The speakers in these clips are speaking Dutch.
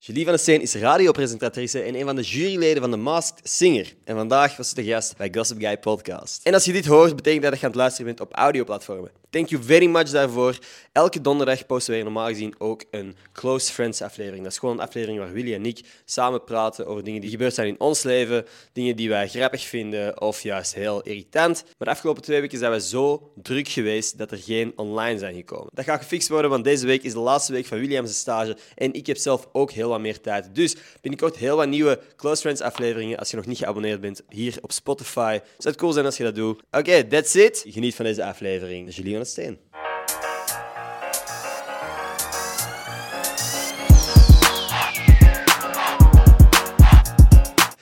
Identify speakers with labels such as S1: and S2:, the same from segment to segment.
S1: Julie van der Steen is radiopresentatrice en een van de juryleden van The Masked Singer. En vandaag was ze de gast bij Gossip Guy Podcast. En als je dit hoort, betekent dat dat je aan het luisteren bent op audioplatformen. Thank you very much daarvoor. Elke donderdag posten wij normaal gezien ook een Close Friends aflevering. Dat is gewoon een aflevering waar Willy en ik samen praten over dingen die gebeurd zijn in ons leven. Dingen die wij grappig vinden of juist heel irritant. Maar de afgelopen twee weken zijn we zo druk geweest dat er geen online zijn gekomen. Dat gaat gefixt worden, want deze week is de laatste week van Williams' stage. En ik heb zelf ook heel wat meer tijd. Dus binnenkort heel wat nieuwe Close Friends afleveringen. Als je nog niet geabonneerd bent, hier op Spotify. Zou het cool zijn als je dat doet. Oké, that's it. Geniet van deze aflevering. Julie van het Steen.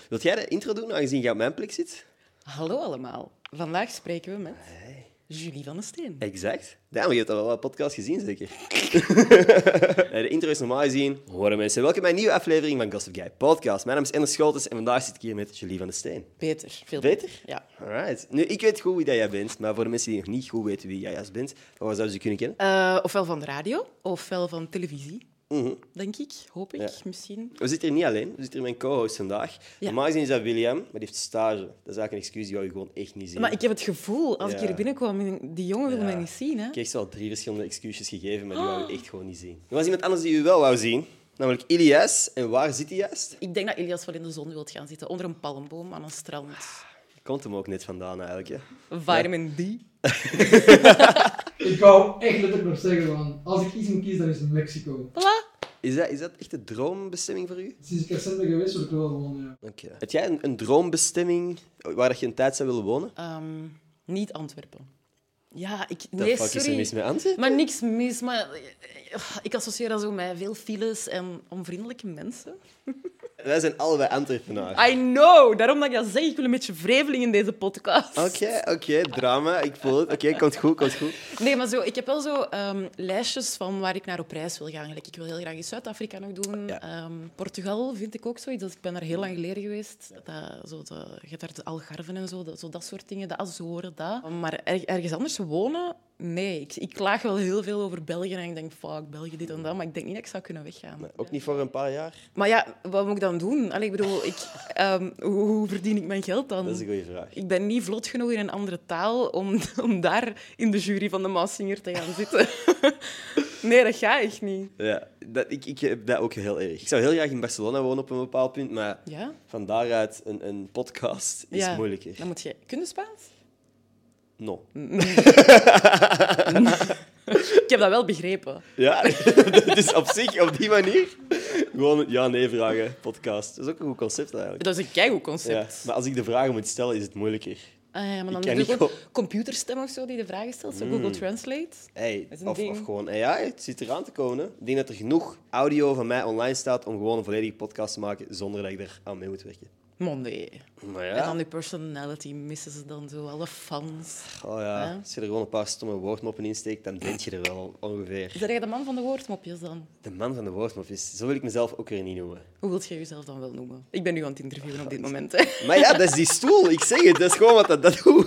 S1: Wilt jij de intro doen, aangezien jij op mijn plek zit?
S2: Hallo allemaal. Vandaag spreken we met Julie van der Steen.
S1: Exact. Daarom, je hebt al wel wat podcast gezien, zeker? Nee, de intro is normaal gezien. Horen mensen, welkom bij een nieuwe aflevering van Gossip Guy Podcast. Mijn naam is Ernest Scholtes en vandaag zit ik hier met Julie van der Steen.
S2: Beter, veel
S1: Beter?
S2: beter. Ja.
S1: Alright. Nu, ik weet goed wie dat jij bent, maar voor de mensen die nog niet goed weten wie jij juist bent, van waar zouden ze je kunnen kennen?
S2: Eh, ofwel van de radio, ofwel van televisie,
S1: Mhm.
S2: denk ik, hoop ik,
S1: Ja.
S2: misschien.
S1: We zitten hier niet alleen, we zitten hier met een co-host vandaag. Normaal gezien is dat William, maar die heeft stage. Dat is eigenlijk een excuus die wou je gewoon echt niet zien.
S2: Maar ik heb het gevoel, als
S1: Ja.
S2: ik hier binnenkwam, die jongen wil
S1: Ja.
S2: mij niet zien. Hè?
S1: Ik kreeg ze al drie verschillende excuses gegeven, maar die wou
S2: Oh.
S1: je echt gewoon niet zien. Er was iemand anders die u wel wou zien, namelijk Ilias. En waar zit hij juist?
S2: Ik denk dat Ilias wel in de zon wilt gaan zitten, onder een palmboom aan een strand.
S1: Ah. Komt hem ook net vandaan eigenlijk. Hè?
S2: Vitamin D.
S3: Ik wou echt letterlijk nog zeggen van, als ik iets moet kiezen, dan is het Mexico.
S2: Voilà.
S1: Is, dat, is dat echt de droombestemming voor u?
S3: Sinds ik recent ben geweest, word ik wel gewoon, ja.
S1: Oké. Heb jij een, een droombestemming waar dat je een tijd zou willen wonen?
S2: Ehm, niet Antwerpen. Ja, ik...
S1: Dat
S2: Nee,
S1: is er
S2: sorry.
S1: mis mee aan te-
S2: Maar niks mis, maar eh, ik associeer dat zo met veel files en onvriendelijke mensen.
S1: Wij zijn allebei Antwerpenaren.
S2: I know, daarom dat ik dat zeg. Ik wil een beetje vreveling in deze podcast.
S1: Oké, oké, drama. Ik voel het. Oké, komt goed, komt goed.
S2: Nee, maar zo, ik heb wel zo ehm, lijstjes van waar ik naar op reis wil gaan. Gelijk, Ik wil heel graag in Zuid-Afrika nog doen.
S1: Ja.
S2: Ehm, Portugal vind ik ook zoiets. Dus ik ben daar heel lang geleden geweest. Dat, zo de, je hebt daar de Algarven en zo, dat, zo dat soort dingen, de Azoren, dat. Maar er- ergens anders wonen, nee. Ik, ik klaag wel heel veel over België en ik denk, fuck, België dit en dat. Maar ik denk niet dat ik zou kunnen weggaan.
S1: Ook niet voor een paar jaar?
S2: Maar ja, wat moet ik dan doen? Allee, ik bedoel, ik, ehm, hoe, hoe verdien ik mijn geld dan?
S1: Dat is een goede vraag.
S2: Ik ben niet vlot genoeg in een andere taal om, om daar in de jury van de Massinger te gaan zitten. nee, dat gaat echt niet.
S1: Ja, dat, ik, ik heb dat ook heel erg. Ik zou heel graag in Barcelona wonen op een bepaald punt, maar
S2: Ja?
S1: van daaruit een, een podcast is
S2: ja.
S1: moeilijker.
S2: Dan moet je... Kun je Spaans?
S1: No.
S2: Ik heb dat wel begrepen.
S1: Ja, dus op zich, op die manier, gewoon een ja-nee-vragen podcast. Dat is ook een goed concept eigenlijk.
S2: Dat is een keigoed
S1: Ja,
S2: concept.
S1: maar als ik de vragen moet stellen, is het moeilijker.
S2: Ah, ja, maar dan
S1: Ik ken
S2: doe je
S1: niet Hmm.
S2: gewoon computerstem of zo die de vragen stelt, zo Google Translate.
S1: Hey,
S2: is een
S1: of,
S2: ding.
S1: of gewoon AI, het zit eraan te komen. hè. Ik denk dat er genoeg audio van mij online staat om gewoon een volledige podcast te maken zonder dat ik er aan mee moet werken.
S2: Maar nee.
S1: Maar
S2: En
S1: ja,
S2: dan die personality missen ze dan zo, alle fans.
S1: oh ja.
S2: Ja.
S1: als je er gewoon een paar stomme woordmoppen in steekt, dan denk je er wel ongeveer.
S2: Zijn jij de man van de woordmopjes dan?
S1: De man van de woordmopjes, zo wil ik mezelf ook weer niet noemen.
S2: Hoe wilt jij jezelf dan wel noemen? Ik ben nu aan het interviewen op dit moment. Hè.
S1: Maar ja, dat is die stoel, ik zeg het, dat is gewoon wat dat, dat doet.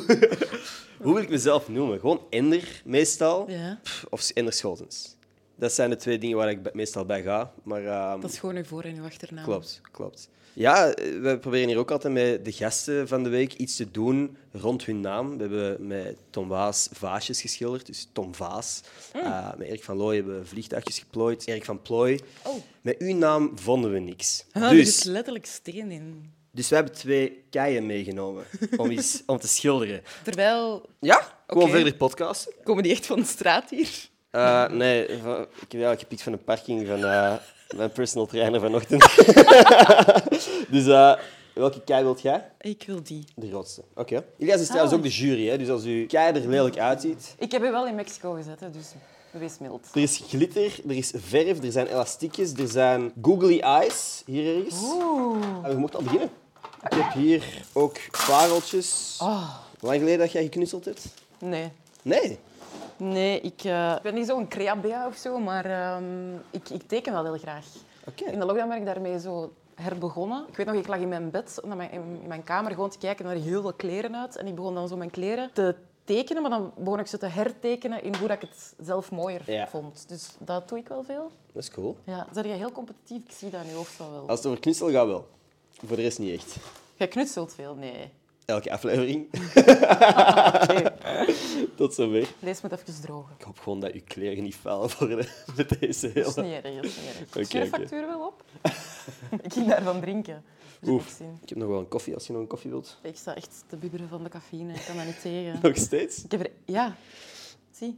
S1: Hoe wil ik mezelf noemen? Gewoon Ender, meestal.
S2: Ja.
S1: Pff, Of Ender Scholtens. Dat zijn de twee dingen waar ik be- meestal bij ga. Maar, ehm,
S2: Dat is gewoon uw voor- en uw achternaam.
S1: Klopt, klopt. Ja, eh, we proberen hier ook altijd met de gasten van de week iets te doen rond hun naam. We hebben met Tom Waas vaasjes geschilderd, dus Tom Vaas.
S2: Mm.
S1: Eh, met Erik van Looy hebben we vliegtuigjes geplooid. Erik van Plooy.
S2: Oh.
S1: Met uw naam vonden we niks.
S2: Ah, Er is
S1: dus,
S2: letterlijk steen in.
S1: dus wij hebben twee keien meegenomen om, iets, om te schilderen.
S2: Terwijl
S1: Ja, gewoon
S2: Oké.
S1: verder podcasten.
S2: komen die echt van de straat hier.
S1: Eh, nee, van- ik heb die eigenlijk gepikt van een parking van eh, mijn personal trainer vanochtend. dus eh, welke kei wilt jij?
S2: Ik wil die.
S1: De grootste. Oké. Ilias is trouwens ook de jury, hè? dus als u kei er lelijk uitziet.
S2: Ik heb u wel in Mexico gezet, hè, dus wees mild.
S1: Er is glitter, er is verf, er zijn elastiekjes, er zijn googly eyes. Hier ergens.
S2: Oeh.
S1: Ah, we moeten al beginnen. Ik heb hier ook pareltjes. Lang geleden dat jij geknutseld hebt?
S2: Oh, Nee.
S1: Nee.
S2: Nee, ik, eh, ik ben niet zo'n creabea of zo, maar ehm, ik, ik teken wel heel graag.
S1: Oké.
S2: In de lockdown ben ik daarmee zo herbegonnen. Ik weet nog, ik lag in mijn bed, in mijn, in mijn kamer, gewoon te kijken naar heel veel kleren uit. En ik begon dan zo mijn kleren te tekenen, maar dan begon ik ze te hertekenen in hoe dat ik het zelf mooier
S1: Ja.
S2: vond. Dus dat doe ik wel veel.
S1: Dat is cool.
S2: Ja, ben jij heel competitief? Ik zie dat in je hoofd wel wel.
S1: Als het over knutsel gaat, wel. Voor de rest niet echt.
S2: Jij knutselt veel? Nee.
S1: Elke aflevering.
S2: Oké,
S1: Tot zover.
S2: Deze moet even drogen.
S1: Ik hoop gewoon dat uw kleren niet vuil worden met deze
S2: Dat is
S1: hele...
S2: niet erg, dat is niet erg.
S1: Oké,
S2: Stuur de
S1: oké.
S2: factuur wel op. ik ging daarvan drinken. Dus
S1: Oef.
S2: ik zin.
S1: Ik heb nog wel een koffie, als je nog een koffie wilt.
S2: Ik sta echt te bibberen van de cafeïne. Ik kan dat niet tegen.
S1: Nog steeds?
S2: Ik heb er... Ja. Zie.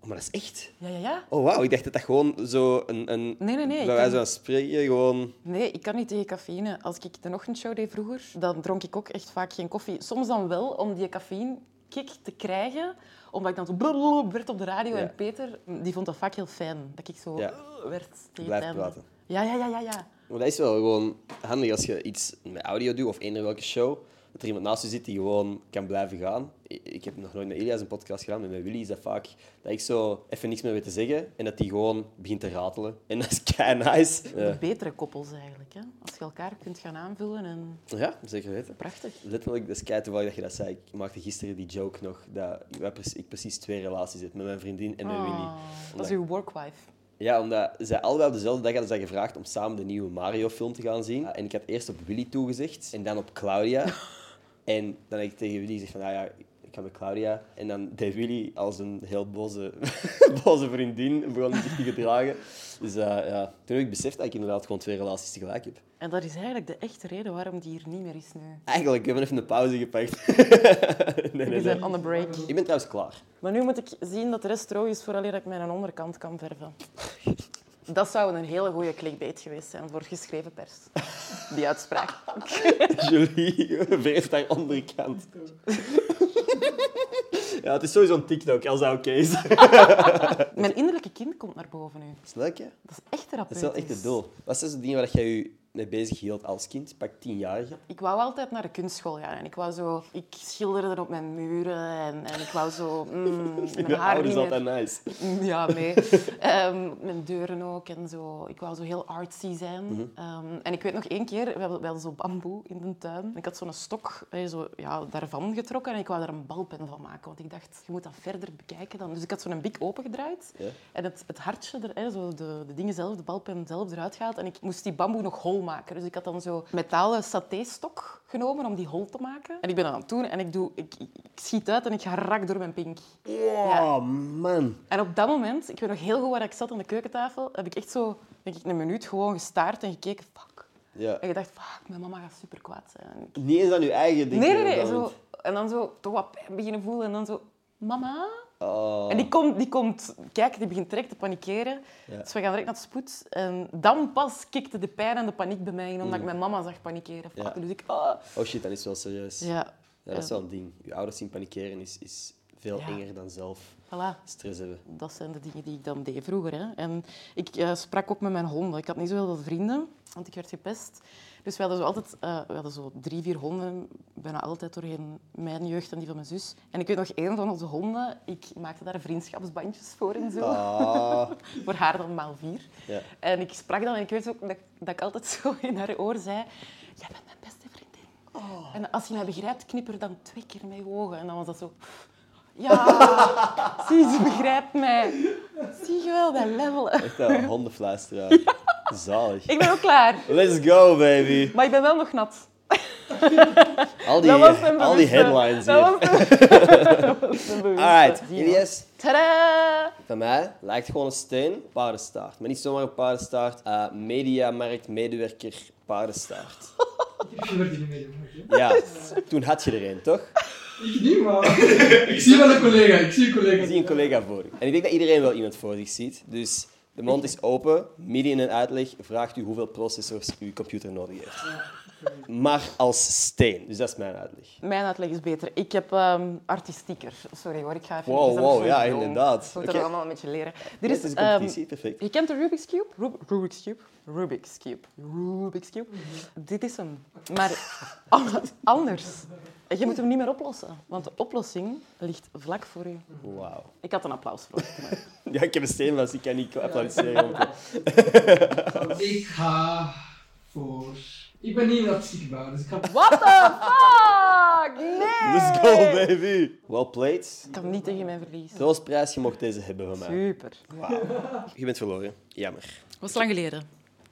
S1: Oh, maar dat is echt...
S2: Ja, ja, ja.
S1: Oh, wauw. Ik dacht dat dat gewoon zo een... een...
S2: Nee, nee, nee.
S1: Bij
S2: ik kan-
S1: wijze van spreken, gewoon...
S2: Nee, ik kan niet tegen cafeïne. Als ik de ochtendshow deed vroeger, dan dronk ik ook echt vaak geen koffie. Soms dan wel om die cafeïne-kick te krijgen, omdat ik dan zo blablabla werd op de radio.
S1: Ja.
S2: En Peter, die vond dat vaak heel fijn, dat ik zo
S1: Ja.
S2: werd tegen het
S1: Blijf
S2: einde.
S1: praten.
S2: Ja, ja, ja, ja, ja.
S1: Maar dat is wel gewoon handig als je iets met audio doet, of eender welke show, dat er iemand naast je zit die gewoon kan blijven gaan. I- Ik heb nog nooit met Elias een podcast gedaan, maar met Willy is dat vaak dat ik zo even niks meer weet te zeggen en dat die gewoon begint te ratelen. En dat is kei nice.
S2: De
S1: Ja,
S2: betere koppels eigenlijk, hè. Als je elkaar kunt gaan aanvullen en...
S1: ja zeker weten.
S2: Prachtig.
S1: Letterlijk, dat is kei toevallig dat je dat zei. Ik maakte gisteren die joke nog, dat wij pre- ik precies twee relaties heb, met mijn vriendin en met Willy.
S2: Ah, dat is uw workwife.
S1: Ja, omdat zij allebei op dezelfde dag hadden zij gevraagd om samen de nieuwe Mario-film te gaan zien. En ik had eerst op Willy toegezegd en dan op Claudia. en dan heb ik tegen Willy gezegd van, nou ja, ik ga met Claudia. En dan deed Willy als een heel boze, boze vriendin en begon zich te gedragen. Dus eh, ja, toen heb ik beseft dat ik inderdaad gewoon twee relaties tegelijk heb.
S2: En dat is eigenlijk de echte reden waarom die hier niet meer is nu.
S1: Eigenlijk, ik heb even een pauze gepakt. nee,
S2: Die
S1: nee, nee.
S2: zijn on the break.
S1: Ik ben trouwens klaar.
S2: Maar nu moet ik zien dat de rest droog is vooraleer dat ik mijn onderkant kan verven. Dat zou een hele goede clickbait geweest zijn voor geschreven pers. Die uitspraak.
S1: Julie wreef haar onderkant. Ja, het is sowieso een TikTok, als dat oké is.
S2: Mijn innerlijke kind komt naar boven nu.
S1: Dat is leuk, hè?
S2: Dat is echt
S1: Dat
S2: therapeutisch.
S1: is wel echt het doel. Wat is dus het ding waar jij je mee bezig hield als kind? Pak tienjarige.
S2: Ik wou altijd naar de kunstschool gaan. En ik, wou zo, ik schilderde op mijn muren en, en ik wou zo... Mm, mijn
S1: De
S2: haar
S1: ouders
S2: niet
S1: altijd
S2: meer-
S1: nice.
S2: Ja, nee. Ehm, mijn deuren ook en zo. Ik wou zo heel artsy zijn. Ehm, en ik weet nog één keer, we hadden, we hadden zo bamboe in de tuin. En Ik had zo'n stok eh, zo, ja, daarvan getrokken en ik wou daar een balpen van maken. Want ik dacht, je moet dat verder bekijken dan. Dus ik had zo'n bik opengedraaid
S1: Ja.
S2: en het, het hartje er, hè, zo de, de dingen zelf, de balpen zelf eruit gehaald. En ik moest die bamboe nog hol maken. Dus ik had dan zo metalen satéstok genomen om die hol te maken. En ik ben dat aan het doen en ik, doe, ik, ik, ik schiet uit en ik ga rak door mijn pink.
S1: Oh, man.
S2: En op dat moment, ik weet nog heel goed waar ik zat aan de keukentafel, heb ik echt zo denk ik, een minuut gewoon gestaard en gekeken, fuck.
S1: Ja.
S2: En gedacht, fuck, mijn mama gaat super kwaad zijn. En ik-
S1: Niet eens aan je eigen ding.
S2: Nee, nee, nee. Zo, en dan zo toch wat pijn beginnen voelen en dan zo, mama?
S1: Oh,
S2: En die komt, die komt kijken, die begint direct te panikeren.
S1: Ja.
S2: Dus we gaan direct naar de spoed. En dan pas kikte de pijn en de paniek bij mij in, omdat ik mijn mama zag panikeren. Fuck.
S1: Ja.
S2: Dus ik, ah.
S1: Oh shit, dat is wel serieus. Ja.
S2: Ja.
S1: dat is wel een ding. Je ouders zien panikeren is, is veel
S2: Ja.
S1: enger dan zelf
S2: Voilà.
S1: stress hebben.
S2: dat zijn de dingen die ik dan deed vroeger. Hè. En ik eh, sprak ook met mijn honden. Ik had niet zo heel veel vrienden, want ik werd gepest. Dus we hadden zo altijd eh, we hadden zo drie, vier honden, bijna altijd doorheen mijn jeugd en die van mijn zus. En ik weet nog één van onze honden, ik maakte daar vriendschapsbandjes voor en zo.
S1: Ah.
S2: Voor haar dan maal vier.
S1: Ja.
S2: En ik sprak dan en ik weet ook dat, dat ik altijd zo in haar oor zei... Jij bent mijn beste vriendin.
S1: Oh.
S2: En als je mij begrijpt, knipper dan twee keer met je ogen. En dan was dat zo... Ja, zie, ze begrijpt mij. Zie je wel, dat levelen.
S1: Echt een hondenfluisteraar. Zalig.
S2: Ik ben ook klaar.
S1: Let's go, baby.
S2: Maar ik ben wel nog nat.
S1: Al die,
S2: dat was mijn
S1: al die
S2: bewuste-
S1: headlines hier.
S2: Dat was mijn- dat was mijn bewuste.
S1: Alright,
S2: Zie je.
S1: Elias,
S2: Tadaa!
S1: Van mij lijkt gewoon een steen paardenstaart. Maar niet zomaar een paardenstaart. eh mediamarkt, medewerker, paardenstaart.
S3: Je werd hier niet mee, jongen, oké?
S1: Ja, toen had je er een, toch?
S3: Ik niet, maar... ik zie wel een collega, ik zie een collega.
S1: Ik zie een collega voor u. En ik denk dat iedereen wel iemand voor zich ziet. Dus de mond is open, midden in een uitleg vraagt u hoeveel processors uw computer nodig heeft. Maar als steen, dus dat is mijn uitleg.
S2: Mijn uitleg is beter. Ik heb ehm, artistieker. Sorry hoor, ik ga even...
S1: Wow,
S2: ik ben nog
S1: wow,
S2: zo
S1: ja,
S2: jong.
S1: inderdaad.
S2: Ik moet
S1: Oké.
S2: dat allemaal een beetje leren. Er
S1: Dit
S2: is,
S1: is een
S2: ehm,
S1: competitie, perfect.
S2: je kent de Rubik's Cube? Rub- Rubik's Cube? Rubik's Cube. Rubik's Cube. Dit is hem. Maar an- anders. Je moet hem niet meer oplossen. Want de oplossing ligt vlak voor u.
S1: Wauw.
S2: Ik had een applaus voor u. maar-
S1: Ja, ik heb een steen vast, ik kan niet applaudisseren.
S3: Ik ga voor... Ik ben niet in de artistieke bouw, dus ik ga...
S2: What the fuck? Nee!
S1: Let's go, baby! Well played.
S2: Ik kan niet tegen mijn verlies.
S1: Zoals prijs, je mocht deze hebben van mij.
S2: Super.
S1: Je bent verloren. Jammer.
S2: Was lang geleden.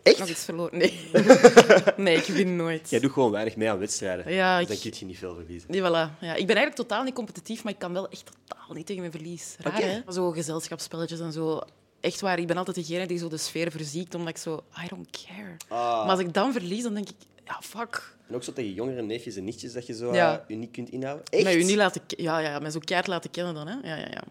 S2: Nog
S1: Echt?
S2: iets verloren? Nee. nee, ik win nooit.
S1: Jij doet gewoon weinig mee aan wedstrijden.
S2: Ja,
S1: Dus dan
S2: ik...
S1: kun je niet veel verliezen.
S2: Nee, voilà. ja, ik ben eigenlijk totaal niet competitief, maar ik kan wel echt totaal niet tegen mijn verlies. Raar,
S1: Oké.
S2: hè? Zo gezelschapsspelletjes en zo. Echt waar, ik ben altijd degene die zo de sfeer verziekt, omdat ik zo... I don't care.
S1: Ah.
S2: Maar als ik dan verlies, dan denk ik... Ja, fuck.
S1: En ook zo tegen jongere neefjes en nichtjes dat je zo
S2: Ja.
S1: eh, uniek kunt inhouden. Echt?
S2: Mij u niet laten... ke- Ja, ja, ja, mij zo keihard laten kennen dan, hè. Ja, ja, ja.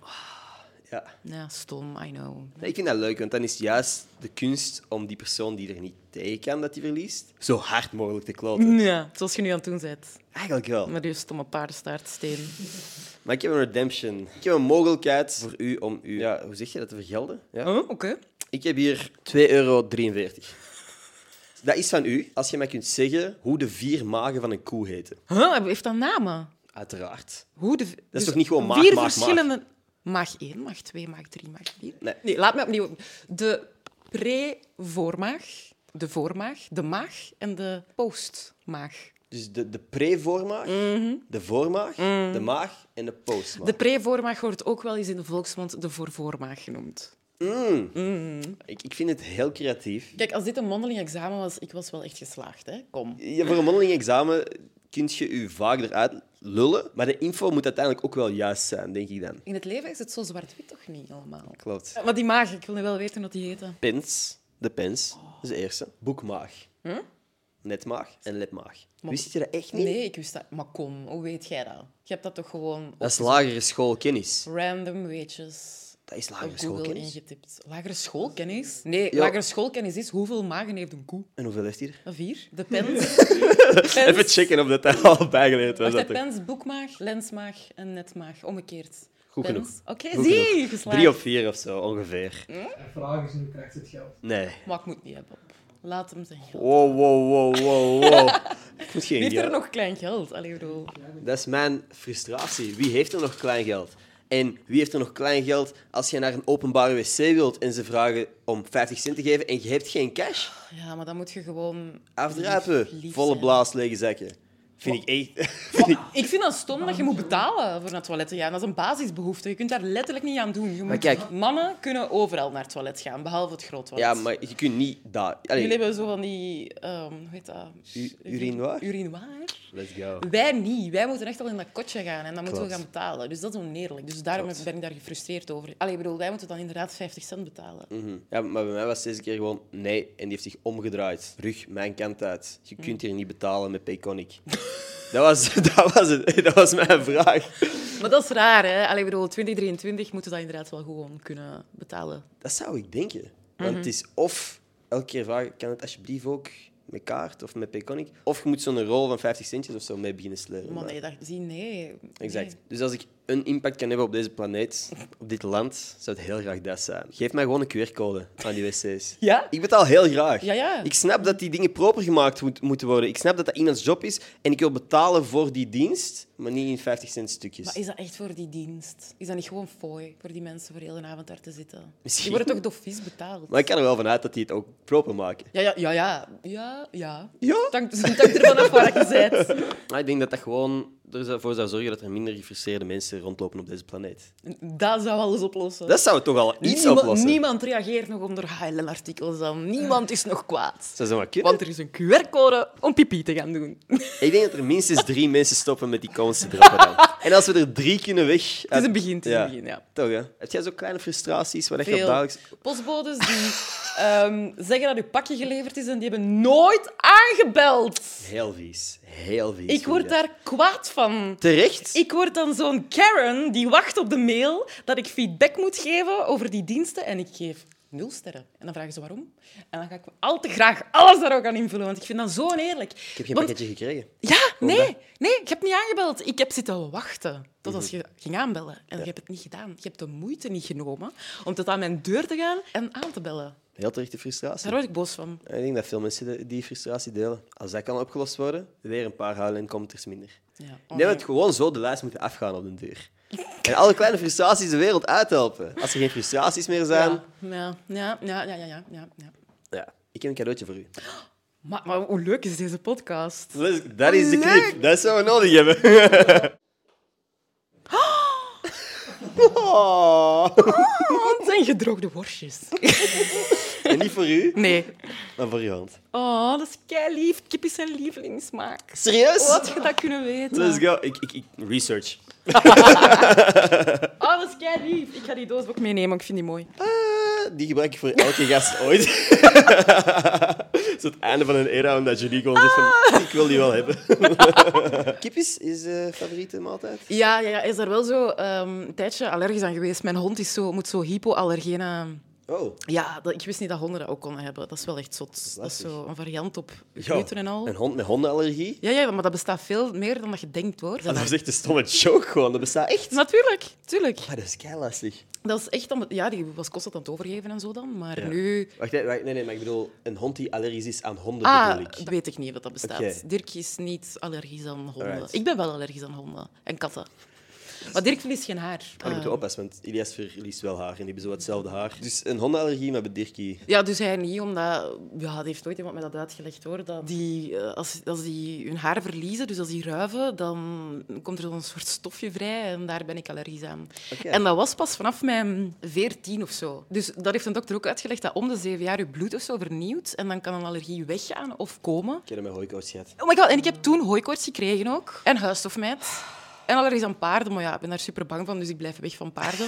S1: Ja.
S2: Ja, stom, I know.
S1: Nee, Ik vind dat leuk, want dan is juist de kunst om die persoon die er niet tegen kan dat die verliest, zo hard mogelijk te kloten.
S2: Ja, zoals je nu aan het doen bent.
S1: Eigenlijk wel.
S2: Met je stomme paardenstaartsteen.
S1: Maar ik heb een redemption. Ik heb een mogelijkheid voor u om u... Ja, hoe zeg je dat? Te vergelden? Ja.
S2: Oh, oké.
S1: Ik heb hier 2,43 euro. Dat is van u als je mij kunt zeggen hoe de vier magen van een koe heten.
S2: Huh, heeft dat namen?
S1: Uiteraard.
S2: Hoe de... Dat is
S1: toch niet gewoon maag,
S2: Vier
S1: maag, maag?
S2: verschillende... Maag 1, maag 2, maag 3, maag 4.
S1: Nee.
S2: laat me opnieuw. De pre-voormaag, de voormaag, de maag en de postmaag.
S1: Dus de, de pre-voormaag, de voormaag, de maag en de postmaag.
S2: Mhm. De pre-voormaag wordt ook wel eens in de volksmond de voorvoormaag genoemd.
S1: Ik, ik vind het heel creatief.
S2: Kijk, als dit een mondeling examen was, ik was wel echt geslaagd, hè? Kom.
S1: Ja, voor een mondeling examen kun je u vaak eruit lullen, maar de info moet uiteindelijk ook wel juist zijn, denk ik dan.
S2: In het leven is het zo zwart-wit toch niet allemaal?
S1: Klopt.
S2: Ja, Maar die maag, ik wil nu wel weten wat die heette.
S1: Pens, de pens, dat is de eerste. Boekmaag, netmaag en lepmaag. Wist je dat echt niet?
S2: Hm? Nee, ik wist dat. Maar kom, hoe weet jij dat? Je hebt dat toch gewoon op
S1: Dat is lagere schoolkennis.
S2: random weetjes
S1: Dat is
S2: op
S1: lagere
S2: Google
S1: schoolkennis.
S2: ingetipt. Lagere schoolkennis? Nee,
S1: Ja.
S2: lagere schoolkennis is hoeveel magen heeft een koe?
S1: En hoeveel heeft hij er?
S2: Een vier. De pens. pens
S1: Even checken of dat daar al bijgeleerd was.
S2: Wacht, hè,
S1: Dat toch.
S2: pens, boekmaag, lensmaag en netmaag. Omgekeerd.
S1: Goed
S2: Pens.
S1: genoeg.
S2: Oké,
S1: Goed
S2: zie,
S1: genoeg.
S2: geslaagd.
S1: Drie of vier of zo, ongeveer.
S3: De vraag is, nu krijgt het geld?
S1: Nee.
S2: Maar ik moet niet hebben. Laat hem zijn geld.
S1: Wow, wow, wow, wow, wow. Ik moet geen
S2: Wie heeft er
S1: geld.
S2: nog klein geld? Allee, ik bedoel...
S1: Dat is mijn frustratie. Wie heeft er nog klein geld? En wie heeft er nog klein geld als je naar een openbare wc wilt en ze vragen om 50 cent te geven en je hebt geen cash?
S2: Ja, maar dan moet je gewoon... lief-
S1: Afdruipen.
S2: lief
S1: Volle
S2: zijn.
S1: blaas, lege zakken. Vind ik echt...
S2: Ik vind dat stom dat je moet betalen voor naar het toilet te gaan. Dat is een basisbehoefte. Je kunt daar letterlijk niet aan doen. Je moet-
S1: kijk-
S2: Mannen kunnen overal naar het toilet gaan, behalve het groot toilet.
S1: Ja, maar je kunt niet daar... Allee,
S2: Jullie hebben zo van die... ehm hoe heet dat?
S1: U- urinoir?
S2: Urinoir.
S1: let's go.
S2: Wij niet. Wij moeten echt al in dat kotje gaan en dan moeten we
S1: Klopt.
S2: gaan betalen. Dus dat is oneerlijk. Dus daarom
S1: Klopt.
S2: ben ik daar gefrustreerd over. Allee, ik bedoel, wij moeten dan inderdaad 50 cent betalen.
S1: Mhm. Ja, maar bij mij was het deze keer gewoon nee. En die heeft zich omgedraaid. Rug, mijn kant uit. Je kunt hier niet betalen met Payconic. dat, was, dat was het. Dat was mijn vraag.
S2: Maar dat is raar, hè? Allee, ik bedoel, 2023 moeten we dat inderdaad wel gewoon kunnen betalen.
S1: Dat zou ik denken. Want
S2: Mhm.
S1: het is of elke keer vragen, kan het alsjeblieft ook met kaart of met Payconic? Of je moet zo'n rol van 50 centjes of zo mee beginnen sleuren.
S2: Maar
S1: Maar-
S2: nee, dat zie nee.
S1: Exact.
S2: Nee.
S1: Dus als ik een impact kan hebben op deze planeet, op dit land, zou het heel graag dat zijn. Geef mij gewoon een QR-code aan die wc's.
S2: Ja?
S1: Ik betaal heel graag.
S2: Ja, ja.
S1: Ik snap dat die dingen proper gemaakt moet- moeten worden. Ik snap dat dat iemands job is. En ik wil betalen voor die dienst, maar niet in 50 cent stukjes.
S2: Maar is dat echt voor die dienst? Is dat niet gewoon fooi voor die mensen voor heel de avond daar te zitten?
S1: Misschien.
S2: Die worden toch doffies betaald?
S1: Maar ik kan er wel vanuit dat die het ook proper maken.
S2: Ja, ja, ja, ja. Ja, ja.
S1: Ja?
S2: Dank, dank ervan af waar je bent.
S1: Maar Ah, ik denk dat dat gewoon ervoor zou zorgen dat er minder gefrustreerde mensen rondlopen op deze planeet.
S2: Dat zou alles oplossen.
S1: Dat zou toch al iets
S2: Niema-
S1: oplossen.
S2: Niemand reageert nog onder heilenartikels dan. Niemand is nog kwaad.
S1: Zou ze maar kunnen.
S2: Want er is een QR-code om pipi te gaan doen.
S1: Ik denk dat er minstens drie mensen stoppen met die cones te droppen dan. En als we er drie kunnen weg...
S2: Het is een begin, het is een begin, ja.
S1: Toch, hè? Heb jij zo kleine frustraties waar dat je op
S2: Veel
S1: dagelijks...
S2: postbodes die ehm, zeggen dat uw pakje geleverd is en die hebben nooit aangebeld.
S1: Heel vies. Heel vies.
S2: Ik word
S1: vind ik
S2: daar kwaad van.
S1: dat. Terecht?
S2: Ik word dan zo'n Karen die wacht op de mail dat ik feedback moet geven over die diensten. En ik geef nul sterren. En dan vragen ze waarom. En dan ga ik al te graag alles daar ook aan invullen, want ik vind dat zo oneerlijk.
S1: Ik heb geen
S2: Want-
S1: pakketje gekregen.
S2: Ja,
S1: Waarom
S2: nee, nee, ik heb niet aangebeld. Ik heb zitten wachten tot als
S1: Mhm.
S2: je ging aanbellen. En je hebt het niet gedaan. Je hebt de moeite niet genomen om tot aan mijn deur te gaan en aan te bellen.
S1: Heel terechte frustratie.
S2: Daar word ik boos van.
S1: Ik denk dat veel mensen de- die frustratie delen. Als dat kan opgelost worden, weer een paar huilen en commenters minder.
S2: Ja. oh
S1: Ik denk dat we gewoon zo de lijst moeten afgaan op den duur. En alle kleine frustraties de wereld uithelpen. Als er geen frustraties meer zijn...
S2: Ja, ja, ja, ja, ja, ja, ja, ja.
S1: Ja. Ik heb een cadeautje voor u.
S2: Maar, maar hoe leuk is deze podcast?
S1: Let's- Dus, Dat is de
S2: Leuk.
S1: clip. Dat zou we nodig hebben. Oh.
S2: Oh, het zijn gedroogde worstjes.
S1: En niet voor u,
S2: Nee.
S1: maar voor je hand.
S2: Oh, dat is kei lief. Kip is zijn lievelingssmaak.
S1: Serieus?
S2: Hoe had je dat kunnen weten?
S1: Let's go. Ik, ik, ik research.
S2: Oh, dat is kei lief. Ik ga die doos ook meenemen, ik vind die mooi.
S1: Eh, die gebruik ik voor elke gast ooit. Het is het einde van een era omdat jullie gewoon zegt van, ik wil die wel hebben. Kip is, Ah. is eh, favoriete maaltijd?
S2: Ja, ja, ja, is daar wel zo ehm, een tijdje allergisch aan geweest. Mijn hond is zo, moet zo hypoallergenen...
S1: Oh.
S2: Ja, dat, ik wist niet dat honden dat ook konden hebben. Dat is wel echt zot. Dat is
S1: lastig.
S2: zo een variant op gluten en al.
S1: Een hond met hondenallergie?
S2: Ja, ja, maar dat bestaat veel meer dan dat je denkt, hoor.
S1: Dat is echt een stomme joke gewoon. Dat bestaat echt.
S2: Natuurlijk, tuurlijk.
S1: Maar Ah, dat is kei lastig.
S2: Dat is echt... aan de- Ja, die was constant aan het overgeven en zo dan. Maar
S1: Ja.
S2: nu...
S1: Wacht, nee, wacht, nee, nee, maar ik bedoel, een hond die allergisch is aan honden
S2: Ah,
S1: bedoel ik.
S2: dat weet ik niet wat dat bestaat.
S1: Oké.
S2: Dirk is niet allergisch aan honden.
S1: Alright.
S2: Ik ben wel allergisch aan honden en katten. Maar Dirk verliest geen haar. Eh,
S1: Maar Ah, dan moeten we oppassen, want Ilias verliest wel haar en die hebben zo hetzelfde haar. Dus een hondenallergie, maar bij Dirkie...
S2: Ja, dus hij niet, omdat... Ja, dat heeft nooit iemand mij dat uitgelegd, hoor. Dat die, eh, als, als die hun haar verliezen, dus als die ruiven, dan komt er zo'n soort stofje vrij en daar ben ik allergisch aan.
S1: Oké.
S2: En dat was pas vanaf mijn veertien of zo. Dus dat heeft een dokter ook uitgelegd, dat om de zeven jaar je bloed of zo vernieuwt en dan kan een allergie weggaan of komen.
S1: Ik heb hem met hooikoorts gehad.
S2: Oh my god, en ik heb toen hooikoorts gekregen ook. En huisstofmeid. En allergisch aan paarden, maar ja, ik ben daar super bang van, dus ik blijf weg van paarden.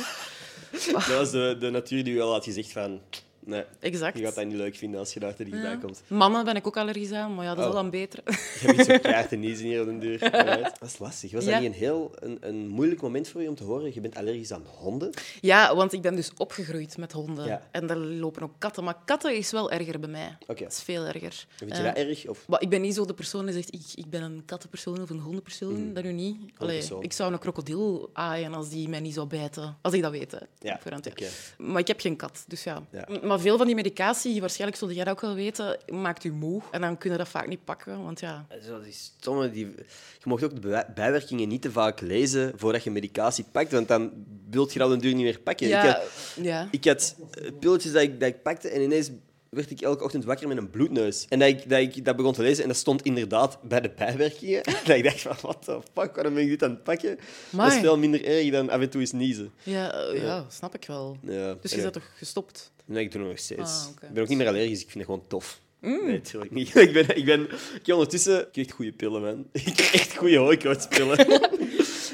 S1: Dat was de, de natuur die u al had gezegd van... Nee,
S2: Exact.
S1: je gaat dat niet leuk vinden als je daar te dichtbij komt.
S2: Mannen ben ik ook allergisch aan, maar ja, dat is
S1: Oh.
S2: al dan beter.
S1: Je hebt iets op kaart en niezen hier op den duur. Alright. Dat is lastig. Was
S2: Ja.
S1: dat niet een heel een, een moeilijk moment voor je om te horen? Je bent allergisch aan honden?
S2: Ja, want ik ben dus opgegroeid met honden.
S1: Ja.
S2: En daar lopen ook katten. Maar katten is wel erger bij mij.
S1: Oké.
S2: Dat is veel erger.
S1: Vind je
S2: Eh,
S1: dat erg? Of...
S2: maar ik ben niet zo de persoon die zegt, ik, ik ben een kattenpersoon of een hondenpersoon.
S1: Mm.
S2: Dat nu niet. Allee,
S1: Hondenpersoon.
S2: ik zou een krokodil aaien als die mij niet zou bijten. Als ik dat weet, hè.
S1: Ja,
S2: Op voorhand,
S1: oké.
S2: Maar ik heb geen kat, dus ja.
S1: Ja.
S2: M- Maar veel van die medicatie, waarschijnlijk zulde jij dat ook wel weten, maakt u moe. En dan kunnen we dat vaak niet pakken, want ja...
S1: Zo, die stomme, die... Je mocht ook de bij- bijwerkingen niet te vaak lezen voordat je medicatie pakt, want dan wilt je dat op den duur niet meer pakken.
S2: Ja,
S1: Ik had,
S2: ja.
S1: ik had eh, pilletjes dat ik, dat ik pakte en ineens werd ik elke ochtend wakker met een bloedneus. En dat ik, dat ik dat begon te lezen en dat stond inderdaad bij de bijwerkingen. dat ik dacht van, what the fuck, waarom ben ik dit aan het pakken? Dat
S2: Amai.
S1: is veel minder erg dan af en toe eens niezen.
S2: Ja, eh, ja, snap ik wel.
S1: Ja,
S2: Dus je
S1: anyway.
S2: bent toch gestopt?
S1: Nee, ik doe het nog steeds.
S2: Ah, oké. Mm.
S1: Ik ben ook niet meer allergisch, ik vind het gewoon tof. Nee, natuurlijk niet. Ik ben, ik ben ik heb ondertussen... Ik heb echt goede pillen, man. Ik heb echt goede hooikoortspillen.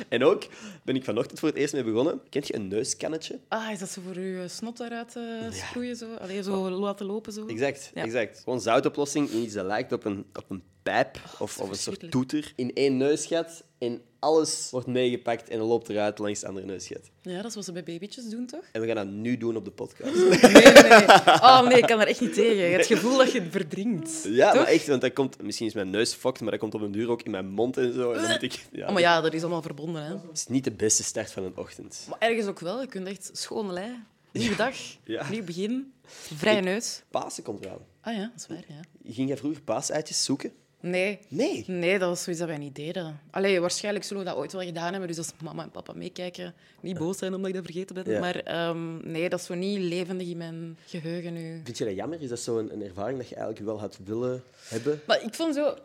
S1: en ook ben ik vanochtend voor het eerst mee begonnen. Kent je een neuskannetje?
S2: Ah, is dat zo voor je snot eruit eh sproeien? Zo? Allee, zo laten lopen? Zo?
S1: Oh. Exact,
S2: Ja.
S1: exact. Gewoon zoutoplossing in iets dat lijkt op een, op een pijp of, of een soort
S2: verschrikkelijk.
S1: toeter. In één neusgat en alles wordt meegepakt en loopt eruit langs de andere neusgat.
S2: Ja, dat is wat ze bij babytjes doen, toch?
S1: En we gaan dat nu doen op de podcast.
S2: Nee, nee. Oh nee, ik kan daar echt niet tegen. Het gevoel dat je het verdrinkt.
S1: Ja,
S2: toch?
S1: maar echt, want dat komt... Misschien is mijn neus fokt, maar dat komt op een duur ook in mijn mond en zo. En dan moet ik...
S2: Oh, maar ja, dat is allemaal verbonden. Hè.
S1: Het is niet de beste start van een ochtend.
S2: Maar ergens ook wel. Je kunt echt schoon lei. Nieuwe dag,
S1: Ja.
S2: nieuw begin, vrije neus.
S1: Pasen komt eraan.
S2: Ah ja, dat is waar, ja.
S1: Ging jij vroeger paasuitjes zoeken?
S2: Nee.
S1: Nee.
S2: Nee, dat was zoiets dat wij niet deden. Allee, waarschijnlijk zullen we dat ooit wel gedaan hebben. Dus als mama en papa meekijken, niet boos zijn omdat ik dat vergeten ben.
S1: Ja.
S2: Maar ehm, nee, dat is zo niet levendig in mijn geheugen nu.
S1: Vind je dat jammer? Is dat zo'n een ervaring dat je eigenlijk wel had willen hebben?
S2: Maar ik vond zo...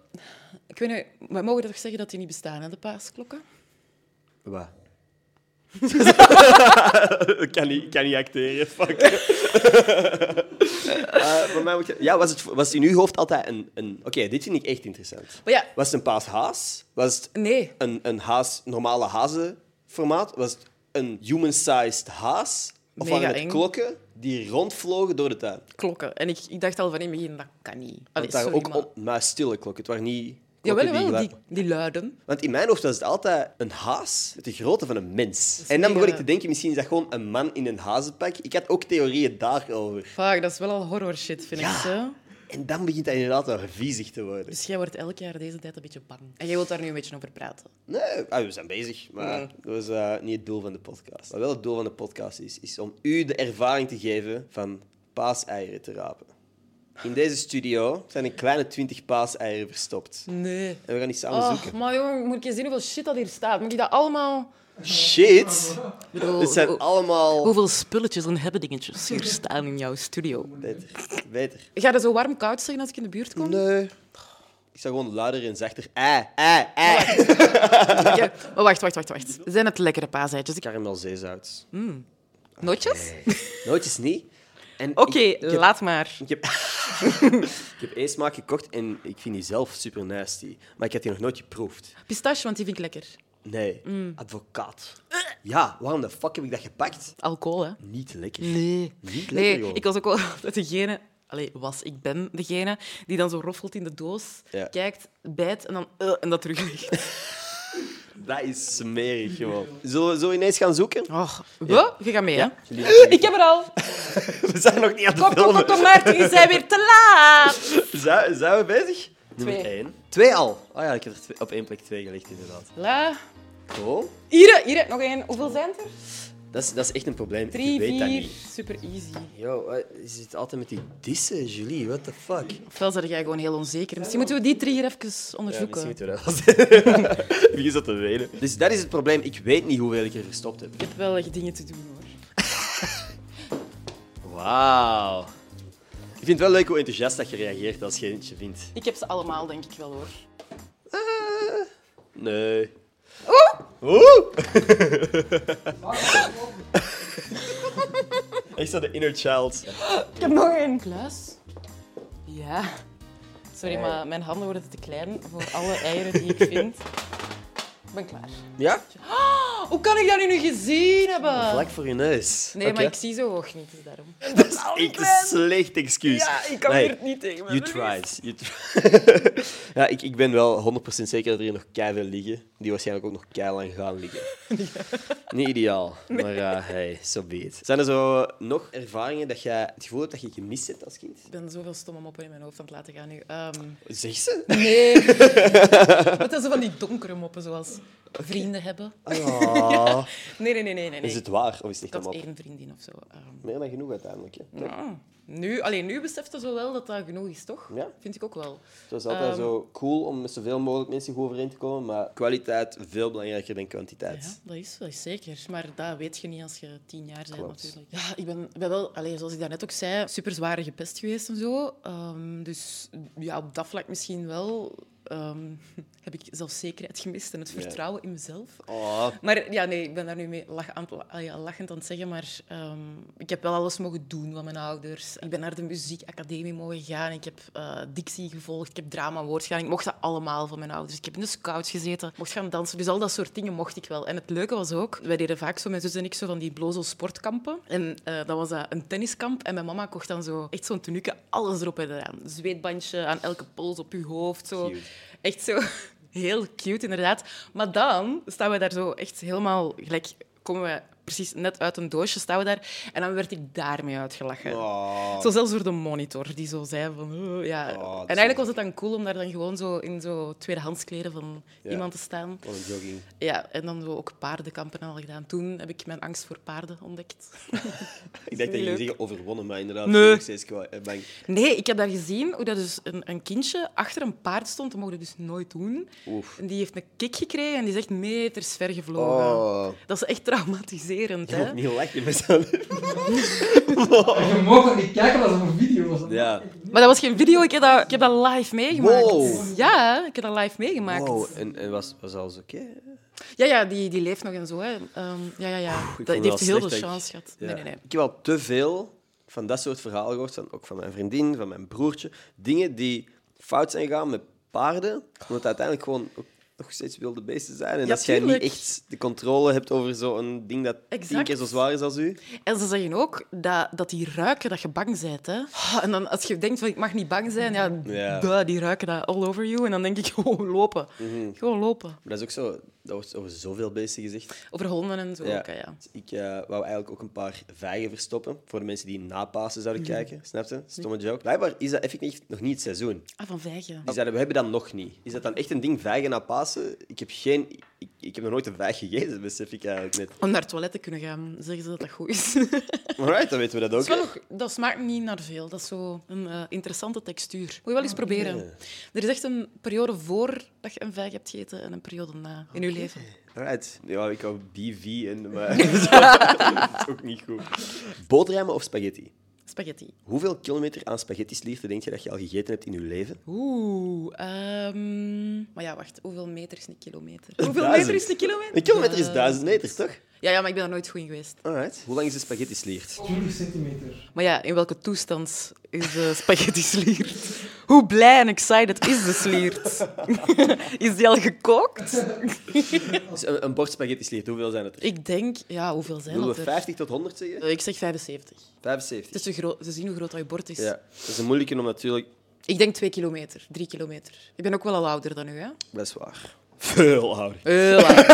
S2: Ik weet niet, wij mogen toch zeggen dat die niet bestaan, hè, de paasklokken?
S1: Wat? ik kan niet, ik kan niet acteren, fuck. Eh, voor mij moet je- Ja, was het, was het in uw hoofd altijd een... een... Oké, dit vind ik echt interessant.
S2: Maar ja,
S1: Was het een paashaas? Was het
S2: nee.
S1: een, een haas, normale hazenformaat? Was het een human-sized haas? Of
S2: Mega
S1: waren het
S2: eng.
S1: klokken die rondvlogen door de tuin?
S2: Klokken. En ik, ik dacht al van in het begin, dat kan niet. Allee,
S1: Het waren
S2: sorry,
S1: ook
S2: maar...
S1: op, maar stille klokken. Het waren niet
S2: Jawel,
S1: klokken die
S2: jawel,
S1: geluid-
S2: die, die luiden.
S1: Want in mijn hoofd was het altijd een haas met de grootte van een mens.
S2: is
S1: En dan begon
S2: mega-
S1: ik te denken, misschien is dat gewoon een man in een hazenpak. Ik had ook theorieën daarover.
S2: Vaak, dat is wel al horror shit, vind ik.
S1: Ja.
S2: Zo.
S1: En dan begint dat inderdaad wel viezig te worden.
S2: Dus jij wordt elk jaar deze tijd een beetje bang. En jij wilt daar nu een beetje over praten.
S1: Nee, ah, we zijn bezig, maar
S2: Mm.
S1: dat was eh, niet het doel van de podcast. Wat wel het doel van de podcast is, is om u de ervaring te geven van paaseieren te rapen. In deze studio zijn een kleine 20 paaseieren verstopt.
S2: Nee.
S1: En we gaan die samen
S2: Oh,
S1: zoeken.
S2: maar jongen, moet ik eens zien hoeveel shit dat hier staat? Moet ik dat allemaal...
S1: Shit!
S2: Oh. Bro,
S1: Dit zijn
S2: hoe-
S1: allemaal...
S2: Hoeveel spulletjes en hebben dingetjes hier staan in jouw studio?
S1: Beter. Beter.
S2: Ga je zo warm-koud zeggen als ik in de buurt kom?
S1: Nee. Ik zou gewoon luider en zachter... Eh, Ei, ei, ei.
S2: Ja, maar wacht, wacht, wacht, wacht. Zijn het lekkere paaseitjes? Ik...
S1: Caramel zeezout.
S2: Notjes?
S1: Nootjes niet. En ik-
S2: Oké,
S1: ik heb-
S2: laat maar.
S1: Ik heb, ik heb één smaak gekocht en ik vind die zelf super nasty. Maar ik heb die nog nooit geproefd.
S2: Pistache, want die vind ik lekker.
S1: Nee,
S2: Mm.
S1: advocaat. Ja, waarom de fuck heb ik dat gepakt?
S2: Alcohol, hè?
S1: Niet lekker.
S2: Nee.
S1: Niet lekker,
S2: Nee,
S1: joh.
S2: ik was ook wel altijd degene... Allee, was. Ik ben degene die dan zo roffelt in de doos,
S1: Ja.
S2: kijkt, bijt en dan... eh, en dat teruglegt.
S1: Dat is smerig gewoon. Zullen we zo ineens gaan zoeken?
S2: Oh, we? Je gaat mee, hè?
S1: Jullie gaan
S2: Ik heb er al.
S1: We zijn nog niet aan
S2: Kom,
S1: het
S2: kom, kom,
S1: filmen.
S2: kom, Maarten. Je bent weer te laat.
S1: Zijn, zijn we bezig? Nummer
S2: Twee.
S1: één. Twee al? Oh ja, ik heb er twee- op één plek twee gelegd inderdaad.
S2: La.
S1: Cool.
S2: Hier, hier. Nog één. Hoeveel zijn het er?
S1: Dat is, dat is echt een probleem. ik
S2: Drie,
S1: weet dat
S2: vier.
S1: niet.
S2: Super easy.
S1: Yo, wat- je zit altijd met die dissen, Julie. What the fuck?
S2: Ofwel zijn jij gewoon heel onzeker. Misschien moeten we die drie hier even onderzoeken.
S1: Ja, misschien moeten we dat Wie is dat te weten? Dus dat is het probleem. Ik weet niet hoeveel ik er verstopt heb.
S2: Ik heb wel echt dingen te doen, hoor.
S1: Wauw. Ik vind het wel leuk hoe enthousiast dat je reageert als je eentje vindt.
S2: Ik heb ze allemaal, denk ik wel, hoor.
S1: Eh, nee.
S2: Oh!
S1: Oeh! Echt zo de inner child.
S2: Ik heb nog één. Kluis? Ja.
S1: Eh.
S2: Sorry, maar mijn handen worden te klein voor alle eieren die ik vind. Ik ben klaar. Oh,
S1: Ja?
S2: Hoe kan ik dat nu niet gezien hebben?
S1: Vlak voor je neus.
S2: Nee,
S1: Oké.
S2: maar ik zie zo hoog niet, dus daarom.
S1: Dat is echt een slecht excuus. Nee.
S2: niet tegen.
S1: You tried. You tr- ja, ik, ik ben wel 100% zeker dat er hier nog keihard liggen. Die waarschijnlijk ook nog keihard gaan liggen. Niet ideaal, maar eh, hey, so be it. Zijn er zo nog ervaringen dat jij het gevoel hebt dat je gemist hebt als kind?
S2: Ik ben zoveel stomme moppen in mijn hoofd aan het laten gaan nu. Ehm,
S1: Zeg ze?
S2: nee. Wat zijn zo van die donkere moppen, zoals vrienden hebben?
S1: Ah,
S2: Nee, nee, nee, nee. nee.
S1: Is het waar of is het
S2: Ik
S1: echt
S2: had
S1: allemaal
S2: één vriendin of zo. Ehm,
S1: meer dan genoeg uiteindelijk? Hè?
S2: ja. nu, alleen nu besefte ze wel dat dat genoeg is, toch?
S1: Ja.
S2: Vind ik ook wel.
S1: Het was altijd
S2: Ehm.
S1: zo cool om met zoveel mogelijk mensen goed overeen te komen, maar kwaliteit veel belangrijker dan kwantiteit.
S2: Ja, dat is, dat is zeker. Maar dat weet je niet als je tien jaar bent,
S1: Klopt.
S2: natuurlijk. Ja, ik ben, ben wel, allee, zoals ik daarnet ook zei, super zware gepest geweest en zo. Ehm, dus ja, op dat vlak misschien wel ehm, heb ik zelfzekerheid gemist en het
S1: Ja.
S2: vertrouwen in mezelf.
S1: Oh,
S2: Maar ja, nee, ik ben daar nu mee lach aan, het- allee, lachend aan het zeggen, maar ehm, ik heb wel alles mogen doen van mijn ouders. Ik ben naar de muziekacademie mogen gaan, ik heb eh dictie gevolgd, ik heb drama woord gedaan. Ik mocht dat allemaal van mijn ouders. Ik heb in de scouts gezeten, mocht gaan dansen, dus al dat soort dingen mocht ik wel. En het leuke was ook, wij deden vaak zo, mijn zus en ik, zo van die blozo sportkampen. En eh dat was dat een tenniskamp en mijn mama kocht dan zo echt zo'n tenuke, alles erop en eraan. Zweetbandje aan elke pols op je hoofd, zo.
S1: Cute.
S2: Echt zo heel cute, inderdaad. Maar dan staan we daar zo echt helemaal gelijk. Komen we precies net uit een doosje, staan we daar. En dan werd ik daarmee uitgelachen.
S1: oh.
S2: Zo zelfs door de monitor, die zo zei van... "Oh, ja.
S1: Oh, dat is
S2: en eigenlijk was het dan cool om daar dan gewoon zo in zo tweedehandskleren van
S1: Ja.
S2: iemand te staan.
S1: Wat een jogging.
S2: Ja, en dan zo ook paardenkampen en al gedaan. Toen heb ik mijn angst voor paarden ontdekt.
S1: Ik dacht dat je
S2: Leuk.
S1: ging zeggen overwonnen, maar inderdaad,
S2: Nee.
S1: ik ben nog steeds kwa- eh, bang.
S2: Nee, ik heb daar gezien hoe dat dus een, een kindje achter een paard stond. Dat mocht je dus nooit doen.
S1: Oef.
S2: En die heeft een kick gekregen en die is echt meters ver gevlogen.
S1: Oh.
S2: Dat is echt traumatiserend,
S1: Je mag
S2: hè?
S1: niet lachen met zo'n...
S3: Je mocht dat niet kijken, dat is een video. Was dat.
S1: Ja.
S2: Maar dat was geen video, ik heb dat, ik heb dat live meegemaakt.
S1: Wow.
S2: Ja, ik heb dat live meegemaakt.
S1: Wow, en, en was, was alles oké?
S2: Ja, ja, die, die leeft nog en zo, hè. Ehm, ja, ja, ja.
S1: vond
S2: dat,
S1: het
S2: die heeft
S1: wel slecht,
S2: heel veel
S1: denk Oh, ik.
S2: chance gehad.
S1: Ja.
S2: Nee, nee, nee.
S1: Ik heb al te veel van dat soort verhalen gehoord, van, ook van mijn vriendin, van mijn broertje. Dingen die fout zijn gegaan met paarden, omdat het uiteindelijk gewoon ook nog steeds wilde beesten zijn. En
S2: Ja,
S1: als jij niet
S2: tuurlijk.
S1: echt de controle hebt over zo'n ding dat tien
S2: Exact.
S1: keer zo zwaar is als u.
S2: En ze zeggen ook dat, dat die ruiken dat je bang bent. Hè? Oh, En dan als je denkt van ik mag niet bang zijn, ja,
S1: Ja.
S2: duh, die ruiken dat all over you. En dan denk ik gewoon lopen. Gewoon lopen.
S1: Mhm. Maar dat is ook zo, dat wordt over zoveel beesten gezegd.
S2: Over honden en zo.
S1: Ja.
S2: ook, hè, ja.
S1: Dus ik eh, wou eigenlijk ook een paar vijgen verstoppen voor de mensen die na Pasen zouden
S2: Mhm.
S1: kijken. Snap je? Stomme joke. Blijkbaar is dat effectief nog niet het seizoen.
S2: Ah, van vijgen.
S1: Die zeiden, we hebben dat nog niet. Is dat dan echt een ding, vijgen na Pasen? Ik heb geen Ik, ik heb nog nooit een vijg gegeten, besef ik eigenlijk net.
S2: Om naar het toilet te kunnen gaan, zeggen ze dat dat goed is. Het
S1: Alright, dan weten we dat ook.
S2: is wel nog, dat smaakt niet naar veel. Dat is zo een eh, interessante textuur. Moet je wel eens
S1: Ah,
S2: proberen. Er is echt een periode voor dat je een vijg hebt gegeten en een periode na in je leven.
S1: Alright. Ja, ik hou BV en... Maar... dat is ook niet goed. Boterhammen of spaghetti?
S2: Spaghetti.
S1: Hoeveel kilometer aan spaghetti's liefde denk je dat je al gegeten hebt in je leven?
S2: Oeh, ehm, maar ja, wacht. Hoeveel meter is een kilometer?
S1: is
S2: Hoeveel
S1: duizend.
S2: meter is een kilometer?
S1: Een kilometer is
S2: Eh,
S1: duizend meter, toch?
S2: Ja, ja, maar ik ben daar nooit goed in geweest.
S1: Alright. Hoe lang is de spaghetti sliert?
S3: 20 centimeter.
S2: Maar ja, in welke toestand is de spaghetti sliert? Hoe blij en excited is de sliert? is die al gekookt?
S1: Dus een, een bord spaghetti sliert, hoeveel zijn het er?
S2: Ik denk, ja, hoeveel zijn
S1: Willen
S2: dat
S1: we
S2: er?
S1: 50 tot 100 zeggen?
S2: Eh, Ik zeg 75.
S1: 75.
S2: Het is te groot, ze zien hoe groot dat je bord is.
S1: Ja, dat is een moeilijke om natuurlijk...
S2: Ik denk 2 kilometer, 3 kilometer. Ik ben ook wel al ouder dan u, hè?
S1: Dat is waar. Veel ouder.
S2: Heel oud.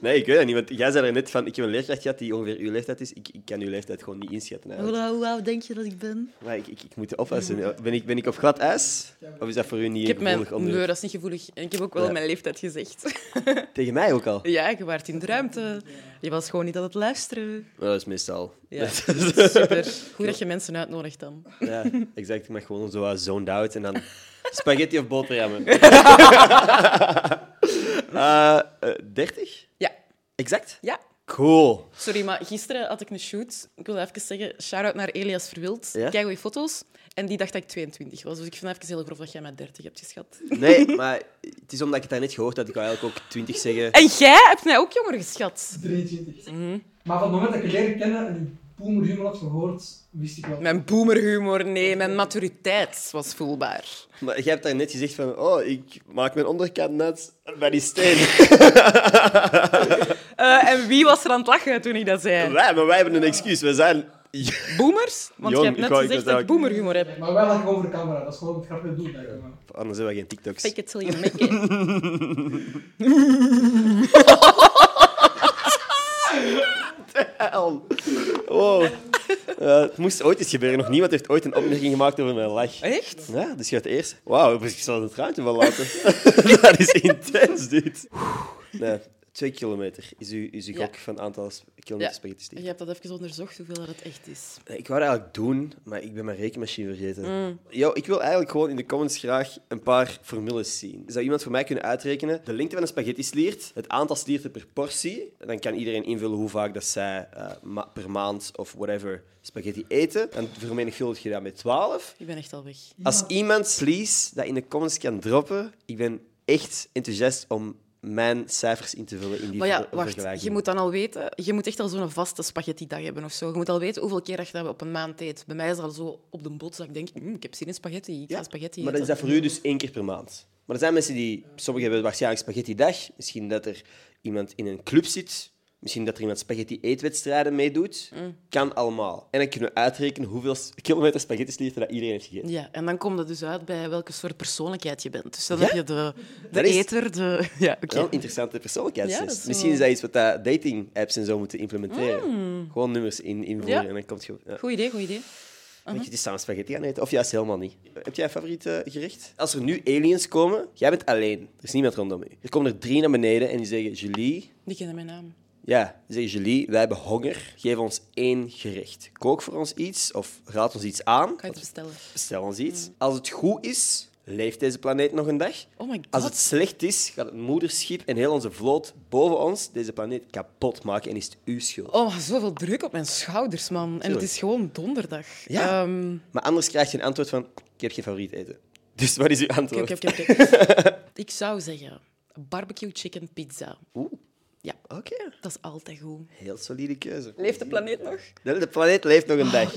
S1: Nee, ik weet dat niet, want jij zei er net van, ik heb een leerkracht gehad die ongeveer uw leeftijd is. Ik, ik kan uw leeftijd gewoon niet inschatten eigenlijk.
S2: Hoe hoe oud denk je dat ik ben?
S1: Maar ik, ik, ik moet oppassen. Ben ik, ben ik op glad ijs? Of is dat voor u niet
S2: Ik
S1: een
S2: heb mijn...
S1: gevoelig onderwerp?
S2: Nee, dat is niet gevoelig. En ik heb ook wel
S1: Ja.
S2: mijn leeftijd gezegd.
S1: Tegen mij ook al?
S2: ja, je waart in de ruimte. Je was gewoon niet aan het luisteren.
S1: Maar dat is meestal.
S2: Ja, super. Goed dat je mensen uitnodigt dan.
S1: Ja, exact. Ik mag gewoon zo wat zoned out en dan spaghetti of boterhammen. Eh, eh, 30?
S2: Ja.
S1: Exact?
S2: Ja.
S1: Cool.
S2: Sorry, maar gisteren had ik een shoot. Ik wil even zeggen, shout-out naar Elias Verwild.
S1: Ja?
S2: Kijk Kijk je foto's. En die dacht dat ik 22 was. Dus ik vind het even heel grof dat jij mij 30 hebt geschat.
S1: Nee, maar het is omdat ik het daarnet gehoord had. Ik wou eigenlijk ook 20 zeggen.
S2: En jij hebt mij ook jonger geschat.
S3: 23. Maar van het moment dat ik je leerde kennen en die boomerhumor had gehoord, wist ik wel.
S2: Mijn boomerhumor, nee. Mijn maturiteit was voelbaar.
S1: Maar jij hebt daarnet gezegd van... Oh, ik maak mijn onderkant nat bij die steen.
S2: Eh, en wie was er aan het lachen toen ik dat zei?
S1: Wij, maar wij hebben een excuus. We zijn...
S2: Boomers? Want
S1: Jong,
S2: je hebt
S1: ik
S2: net
S1: wou- ik was
S2: gezegd dat ik
S1: ook-
S2: boomerhumor heb.
S3: Maar wij lachen over de camera, dat is gewoon het grapje doel. denk ik, maar.
S1: Anders hebben we geen TikToks.
S2: Fake it till you make it.
S1: Hel. Wow. Eh, het moest ooit eens gebeuren. Nog niemand heeft ooit een opmerking gemaakt over mijn lach.
S2: Echt?
S1: Ja, dus je gaat eerst. Wauw, ik zal een traantje van laten. dat is intens, dit. Nee, twee kilometer is uw, is uw
S2: Ja.
S1: gok van aantal s-
S2: Ja.
S1: kilometer spaghetti
S2: Je
S1: stick.
S2: hebt dat even onderzocht, hoeveel dat het echt is.
S1: Nee, Ik wou dat eigenlijk doen, maar ik ben mijn rekenmachine vergeten.
S2: Mm.
S1: Yo, ik wil eigenlijk gewoon in de comments graag een paar formules zien. Zou iemand voor mij kunnen uitrekenen de lengte van een spaghetti sliert, het aantal slierten per portie? En Dan kan iedereen invullen hoe vaak dat zij eh, ma- per maand of whatever spaghetti eten. En vermenigvuldig je dat met 12.
S2: Ik ben echt al weg.
S1: Als iemand Slees dat in de comments kan droppen, ik ben echt enthousiast om mijn cijfers in te vullen in die
S2: Maar ja,
S1: ver-
S2: wacht.
S1: vergelijking.
S2: Je moet dan al weten... Je moet echt al zo'n vaste spaghetti-dag hebben of zo. Je moet al weten hoeveel keer dat je dat op een maand eet. Bij mij is dat al zo op de bots dat ik denk... "Mm, ik heb zin in spaghetti, ik
S1: Ja,
S2: ga spaghetti
S1: Maar dan is
S2: eten."
S1: dat voor u dus één keer per maand. Maar er zijn mensen die... Sommigen hebben waarschijnlijk spaghetti dag. Misschien dat er iemand in een club zit. Misschien dat er iemand spaghetti eetwedstrijden meedoet.
S2: Mm.
S1: Kan allemaal. En dan kunnen we uitrekenen hoeveel s- kilometer spaghetti slierten dat iedereen heeft gegeten.
S2: Ja, en dan komt het dus uit bij welke soort persoonlijkheid je bent. Dus dan
S1: Ja?
S2: heb je de, de
S1: Dat is-
S2: eter, de... Ja, oké.
S1: Wel een interessante persoonlijkheidstest.
S2: Ja, dat is wel-
S1: Misschien is dat iets wat dat dating apps en zo moeten implementeren. Gewoon nummers in, invoeren
S2: Mm. Ja.
S1: en dan komt je... ja.
S2: Goed idee, goed idee.
S1: Moet je die samen spaghetti gaan eten? Of juist helemaal niet? Heb jij een favoriet eh, gerecht? Als er nu aliens komen, jij bent alleen. Er is niemand rondom je. Er komen er drie naar beneden en die zeggen: Julie,
S2: Die kennen mijn naam.
S1: ja, die zeggen Julie, wij hebben honger. Geef ons één gerecht. Kook voor ons iets of raad ons iets aan.
S2: Kan je het bestellen?
S1: Stel ons iets. Als het goed is, leeft deze planeet nog een dag.
S2: Mm. Oh my god.
S1: Als het slecht is, gaat het moederschip en heel onze vloot boven ons deze planeet kapot maken en is het uw schuld.
S2: Oh, maar zoveel druk op mijn schouders, man. En het
S1: Tuurlijk.
S2: is gewoon donderdag.
S1: Ja.
S2: Ehm,
S1: Maar anders krijg je een antwoord van: Ik heb geen favoriet eten. Dus wat is uw antwoord?
S2: Oké, oké, oké, oké. Ik zou zeggen barbecue chicken pizza.
S1: Oeh.
S2: Ja,
S1: Oké.
S2: dat is altijd goed.
S1: Heel solide keuze.
S2: Leeft de planeet nog?
S1: De, de planeet leeft nog een dag.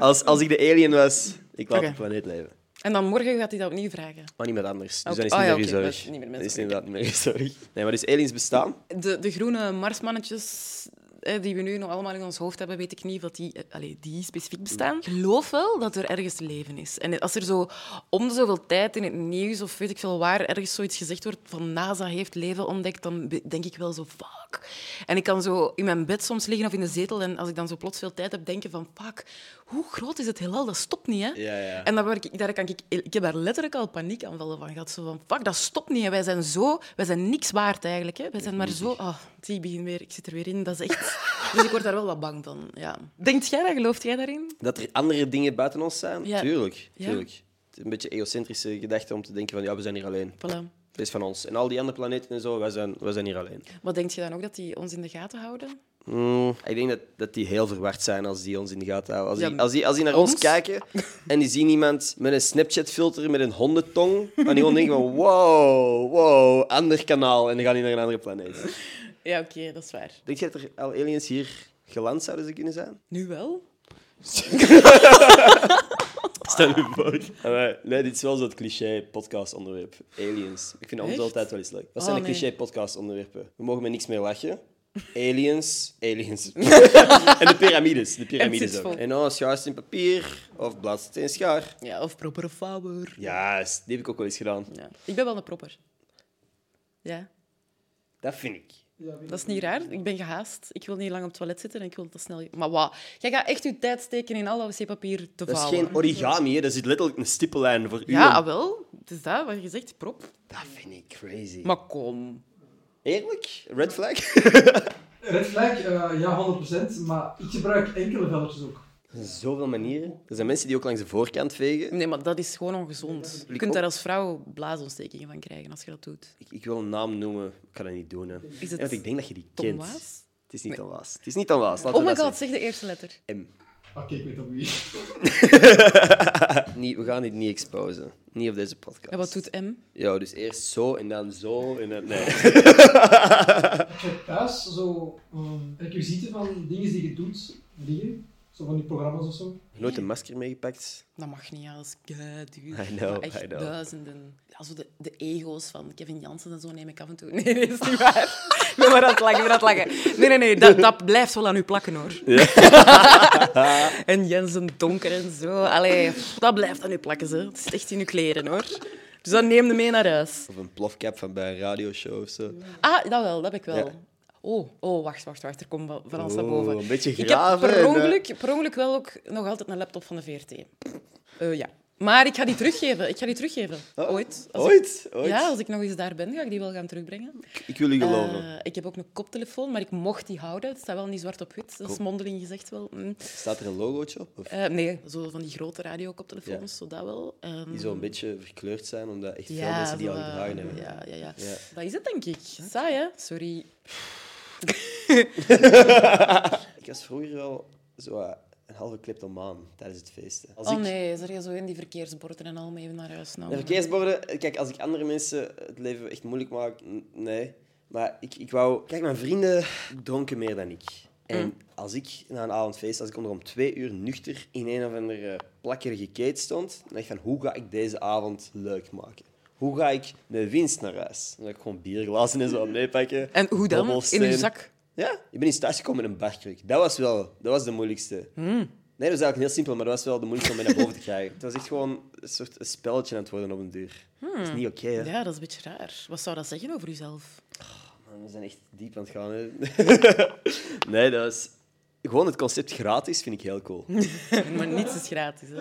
S1: Als, als ik de alien was, ik laat
S2: Oké.
S1: de planeet leven.
S2: En dan morgen gaat hij dat opnieuw vragen.
S1: Maar niemand anders. Dus
S2: Oké.
S1: dan is het
S2: Ah, ja,
S1: niet
S2: oké,
S1: meer
S2: dat
S1: okay,
S2: is niet meer
S1: Dat is
S2: menselijk.
S1: inderdaad niet meer historisch. Nee, maar dus aliens bestaan?
S2: De, de groene marsmannetjes eh, die we nu nog allemaal in ons hoofd hebben, weet ik niet of die, eh, allee, die specifiek bestaan. Ik geloof wel dat er ergens leven is. En als er zo om de zoveel tijd in het nieuws of weet ik veel waar ergens zoiets gezegd wordt van NASA heeft leven ontdekt, dan be- denk ik wel zo fuck. fuck. En ik kan zo in mijn bed soms liggen of in de zetel en als ik dan zo plots veel tijd heb, denken van, fuck, hoe groot is het heelal? Dat stopt niet, hè?
S1: Ja, ja.
S2: En daar, word ik, daar kan ik, ik heb daar letterlijk al paniekaanvallen van gehad. Zo van, fuck, dat stopt niet. hè. Wij zijn zo, wij zijn niks waard eigenlijk. Hè. Wij zijn maar zo, oh, zie, ik begin weer, ik zit er weer in. Dat is echt... Dus ik word daar wel wat bang van, ja. Denkt jij dat? Gelooft jij daarin?
S1: Dat er andere dingen buiten ons zijn?
S2: Ja.
S1: Tuurlijk,
S2: Ja.
S1: tuurlijk. Het is een beetje egocentrische gedachte om te denken van ja, we zijn hier alleen.
S2: Voilà.
S1: Het is van ons. En al die andere planeten en zo, wij zijn, wij zijn hier alleen.
S2: Wat denk je dan ook, dat die ons in de gaten houden?
S1: Mm, ik denk dat, dat die heel verward zijn als die ons in de gaten houden. Als,
S2: Ja,
S1: die, als, die, als die naar ons,
S2: ons?
S1: kijken en die zien iemand met een Snapchat-filter met een hondentong, dan die gewoon denken van wow, wow, ander kanaal en dan gaan die naar een andere planeet.
S2: Ja, oké, dat is waar.
S1: Denk je dat er al aliens hier geland zouden ze kunnen zijn?
S2: Nu wel?
S1: Stel je voor. Allee, Ah, Nee, dit is wel zo'n cliché-podcast-onderwerp. Aliens. Ik vind anders
S2: Echt?
S1: altijd wel eens leuk. Wat
S2: Oh,
S1: zijn de
S2: nee.
S1: cliché-podcast-onderwerpen? We mogen met niks meer lachen. Aliens, aliens. en de piramides. De
S2: En het
S1: piramides
S2: zit
S1: ook.
S2: vol.
S1: En oh, schaars in papier. Of blaadst in schaar.
S2: Ja, of proper fouwer.
S1: Ja, yes, die heb ik ook wel eens gedaan.
S2: Ja. Ik ben wel een propper. Ja,
S1: Dat vind ik.
S3: Ja,
S2: dat is niet raar. Ik ben gehaast. Ik wil niet lang op het toilet zitten en ik wil dat snel... Maar wat? Jij gaat echt je tijd steken in al dat wc-papier te
S1: Dat is
S2: vouwen.
S1: geen origami, hè. Daar zit letterlijk een stippellijn voor u.
S2: Ja, ah,
S1: om-
S2: wel. Het is dat wat je zegt, prop.
S1: Dat vind ik crazy.
S2: Maar kom.
S1: Eerlijk? Red flag?
S3: Red flag, eh, ja, 100%, maar ik gebruik enkele velletjes ook.
S1: Er zijn Zoveel manieren. Er zijn mensen die ook langs de voorkant vegen.
S2: Nee, maar dat is gewoon ongezond. Je kunt daar als vrouw blaasontstekingen van krijgen als je dat doet.
S1: Ik, ik wil een naam noemen, ik kan dat niet doen. Hè.
S2: het
S1: Ja, want ik denk dat je die
S2: Tom
S1: kent.
S2: Waas?
S1: Het is niet Tom Waas. Het is niet Tom Waas. laten
S2: Oh
S1: we
S2: my
S1: dat
S2: god, zeg de eerste letter.
S1: zeggen. M.
S3: Oké, ik weet op wie.
S1: Niet- we gaan dit niet exposen. Niet op deze podcast.
S2: En wat doet M?
S1: Ja, dus eerst zo en dan zo en dan... Nee.
S3: Ik heb thuis zo ehm, requisieten van dingen die je doet liggen. Zo van die programma's of zo.
S1: Nooit een masker meegepakt.
S2: Dat mag niet, ja, dat is keiduur.
S1: I know,
S2: Maar echt
S1: I know.
S2: duizenden. Ja, zo de, de ego's van Kevin Jansen en zo neem ik af en toe. Nee, dat is niet waar. Ik ben maar aan het lachen, ik ben aan het lachen. Nee, nee, nee, dat, dat blijft wel aan u plakken, hoor. en Jensen Donker en zo. Allee, pff, dat blijft aan u plakken, ze. Het zit echt in uw kleren, hoor. Dus dat neem je mee naar huis.
S1: Of een plofcap van bij een radioshow of zo.
S2: Ah, dat wel, dat heb ik wel.
S1: Ja.
S2: Oh, oh, wacht, wacht, wacht. Er komt wel van alles
S1: Oh,
S2: naar boven.
S1: een beetje
S2: ik heb
S1: graven en,
S2: per
S1: eh.
S2: ongeluk, per ongeluk wel ook nog altijd een laptop van de VRT. Eh, ja. Maar ik ga die teruggeven. Ik ga die teruggeven.
S1: Oh.
S2: Ooit. Als ik-
S1: Ooit? Ooit?
S2: Ja, als ik nog eens daar ben, ga ik die wel gaan terugbrengen.
S1: Ik wil u geloven.
S2: Eh, ik heb ook een koptelefoon, maar ik mocht die houden. Het staat wel niet zwart op wit. Dat is mondeling gezegd wel. Mm.
S1: Staat er een logootje op? Of
S2: Eh, nee, zo van die grote radiokoptelefoons, zo dat wel. Ehm,
S1: die zo een beetje verkleurd zijn, omdat echt veel mensen die al
S2: zo, eh,
S1: gedragen hebben.
S2: Ja, ja, ja.
S1: Ja.
S2: Dat is het, denk ik. Saai, hè? Sorry.
S1: Ik was vroeger wel zo eh, een halve kleptomaan tijdens het feesten. Als
S2: oh
S1: ik
S2: nee, zeg je zo in die verkeersborden en al mee naar huis
S1: De
S2: nou.
S1: verkeersborden, kijk, als ik andere mensen het leven echt moeilijk maak, n- nee. Maar ik, ik wou... Kijk, mijn vrienden dronken meer dan ik. En
S2: Mm.
S1: als ik na een avondfeest, als ik onder om twee uur nuchter in een of andere plakkerige keet stond, dan dacht ik van, hoe ga ik deze avond leuk maken? Hoe ga ik de winst naar huis? Dan ga ik gewoon bierglazen en zo aan meepakken.
S2: En hoe dan?
S1: Dobbelsteen.
S2: In uw zak?
S1: Ja, ik ben eens thuisgekomen met een barkruk. Dat was wel dat was de moeilijkste. Nee, dat was eigenlijk heel simpel, maar dat was wel de moeilijkste om mij naar boven te krijgen. Het was echt gewoon een soort een spelletje aan het worden op een duur. Dat is niet oké, hè?
S2: Ja, dat is een beetje raar. Wat zou dat zeggen over uzelf?
S1: Man, we zijn echt diep aan het gaan, hè. nee, dat is... Gewoon het concept gratis vind ik heel cool.
S2: maar niets is gratis, hè?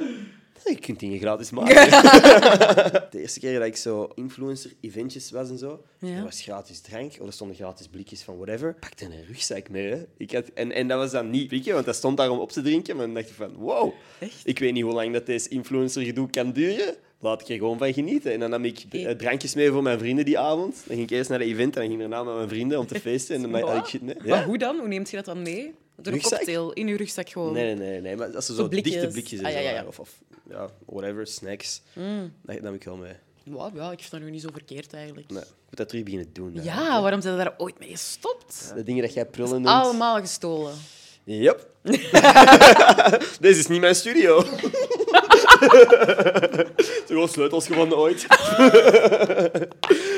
S1: Je kunt dingen gratis maken. de eerste keer dat ik zo influencer-eventjes was en zo,
S2: Ja.
S1: er was gratis drank, of er stonden gratis blikjes van whatever. Ik pakte een rugzak mee. Hè. Ik had, en, en dat was dan niet blikje, want dat stond daar om op te drinken. Maar dan dacht ik van, wow,
S2: Echt?
S1: ik weet niet hoe lang dat deze influencer-gedoe kan duren. Laat ik er gewoon van genieten. En dan nam ik eh, drankjes mee voor mijn vrienden die avond. Dan ging ik eerst naar de event en dan ging ik daarna met mijn vrienden om te feesten. En dan had ik shit mee.
S2: Maar
S1: Ja?
S2: hoe dan? Hoe neemt je dat dan mee? Door een
S1: Rugzak?
S2: cocktail in uw rugzak gewoon.
S1: Nee, nee, nee, nee. Maar als ze
S2: Zo
S1: zo
S2: blikjes.
S1: dichte blikjes en
S2: Ah, ja,
S1: zo
S2: ja, Mm. ja.
S1: waren, Of, of ja, whatever, snacks, dat nam ik wel mee.
S2: Wauw, ja, ik vind dat nu niet zo verkeerd eigenlijk.
S1: Nee, ik moet dat terug beginnen doen. hè.
S2: Ja, waarom zijn ze daar ooit mee gestopt?
S1: De dingen dat jij prullen noemt.
S2: Allemaal gestolen.
S1: Yep. Deze is niet mijn studio. Ze gewoon sleutels gewonnen ooit.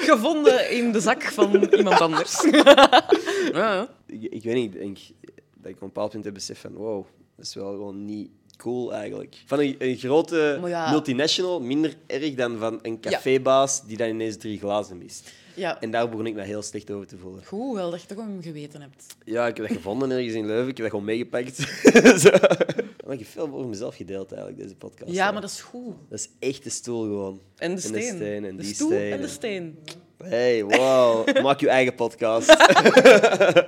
S2: Gevonden in de zak van iemand anders. ja.
S1: Ik, ik weet niet, ik denk dat ik op een bepaald punt heb beseft van wow, dat is wel gewoon niet cool eigenlijk. Van een, een grote
S2: Maar ja.
S1: multinational, minder erg dan van een cafébaas die dan ineens drie glazen mist.
S2: Ja,
S1: En daar begon ik me heel slecht over te voelen.
S2: goed wel dat je toch om hem geweten hebt.
S1: Ja, ik heb dat gevonden ergens in Leuven. Ik heb dat gewoon meegepakt. Zo. Maar ik heb veel over mezelf gedeeld eigenlijk, deze podcast.
S2: Ja, maar dat is goed.
S1: Dat is echt de stoel gewoon.
S2: En de steen.
S1: en
S2: de
S1: die
S2: stoel
S1: steen.
S2: en de steen.
S1: Hey, wow. Maak je eigen podcast.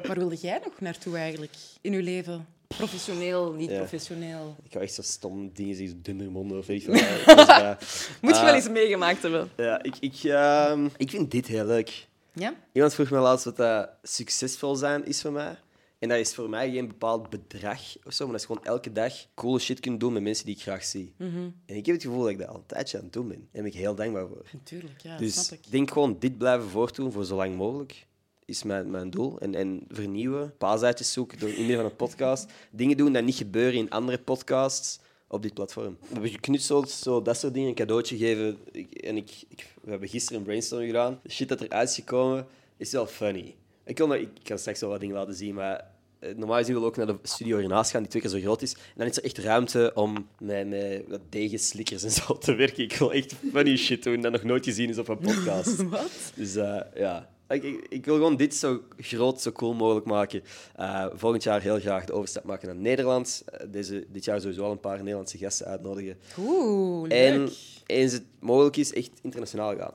S2: Waar wilde jij nog naartoe eigenlijk in je leven? Professioneel, niet
S1: Ja.
S2: professioneel.
S1: ik ga echt zo stom dingen zeggen, dundermonden of weet ik veel. wat. Dus, eh,
S2: Moet je
S1: Ah.
S2: wel eens meegemaakt hebben.
S1: ja, ik, ik, ehm, ik vind dit heel leuk.
S2: Ja?
S1: Iemand vroeg me laatst wat dat succesvol zijn is voor mij. En dat is voor mij geen bepaald bedrag of zo, maar dat is gewoon elke dag coole shit kunnen doen met mensen die ik graag zie.
S2: Mhm.
S1: En ik heb het gevoel dat ik dat al een tijdje aan het doen ben. Daar ben ik heel dankbaar voor.
S2: Natuurlijk, ja,
S1: dus
S2: snap ik.
S1: denk gewoon dit blijven voortdoen voor zo lang mogelijk. Is mijn, mijn doel. En, en vernieuwen, paaseitjes zoeken door in het midden van een podcast. Dingen doen dat niet gebeuren in andere podcasts op dit platform. We hebben geknutseld, zo, dat soort dingen, een cadeautje geven. Ik, en ik, ik, we hebben gisteren een brainstorm gedaan. De shit dat eruit is gekomen is wel funny. Ik kan, ik kan straks wel wat dingen laten zien, maar eh, normaal gezien wil ik ook naar de studio hiernaast gaan, die twee keer zo groot is. En dan is er echt ruimte om met, met wat degenslikkers en zo te werken. Ik wil echt funny shit doen dat nog nooit gezien is op een podcast.
S2: Wat?
S1: Dus eh, ja, ik, ik, ik wil gewoon dit zo groot, zo cool mogelijk maken. Eh, volgend jaar heel graag de overstap maken naar Nederland. Eh, deze, dit jaar sowieso al een paar Nederlandse gasten uitnodigen.
S2: Oeh,
S1: En
S2: leuk.
S1: eens het mogelijk is, echt internationaal gaan.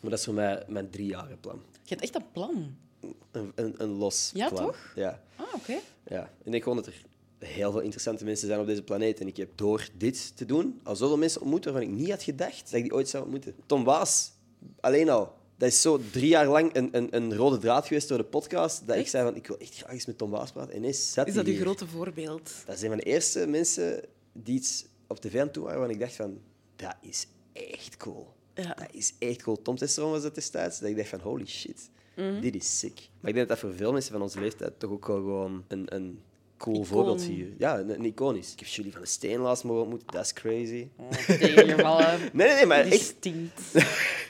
S1: Maar dat is voor mij mijn driejarige plan.
S2: Je hebt echt een plan.
S1: Een, een, een los
S2: Ja,
S1: plan.
S2: toch?
S1: Ja,
S2: Ah, oké.
S1: ja, ik denk gewoon dat er heel veel interessante mensen zijn op deze planeet. En ik heb door dit te doen al zoveel mensen ontmoet waarvan ik niet had gedacht dat ik die ooit zou ontmoeten. Tom Waas, alleen al. Dat is zo drie jaar lang een, een, een rode draad geweest door de podcast. Dat ik
S2: Echt?
S1: zei van, ik wil echt graag eens met Tom Waas praten. En ineens zat
S2: Is dat
S1: die
S2: je
S1: hier.
S2: grote voorbeeld?
S1: Dat zijn van de eerste mensen die iets op tv aan toe waren waarvan ik dacht van, dat is echt cool.
S2: Ja.
S1: Dat is echt cool. Tom Testoron was dat destijds. Dat ik dacht van, holy shit,
S2: Mhm.
S1: dit is sick. Maar ik denk dat dat voor veel mensen van onze leeftijd toch ook wel gewoon een, een cool
S2: Icoon.
S1: voorbeeld hier. Ja, een, een iconisch. Ik heb Julie van de Steen laatst mogen ontmoeten. Dat is crazy.
S2: Oh, Tegengevallen.
S1: Nee, nee, nee, maar
S2: eh, Die
S1: echt...
S2: stinkt.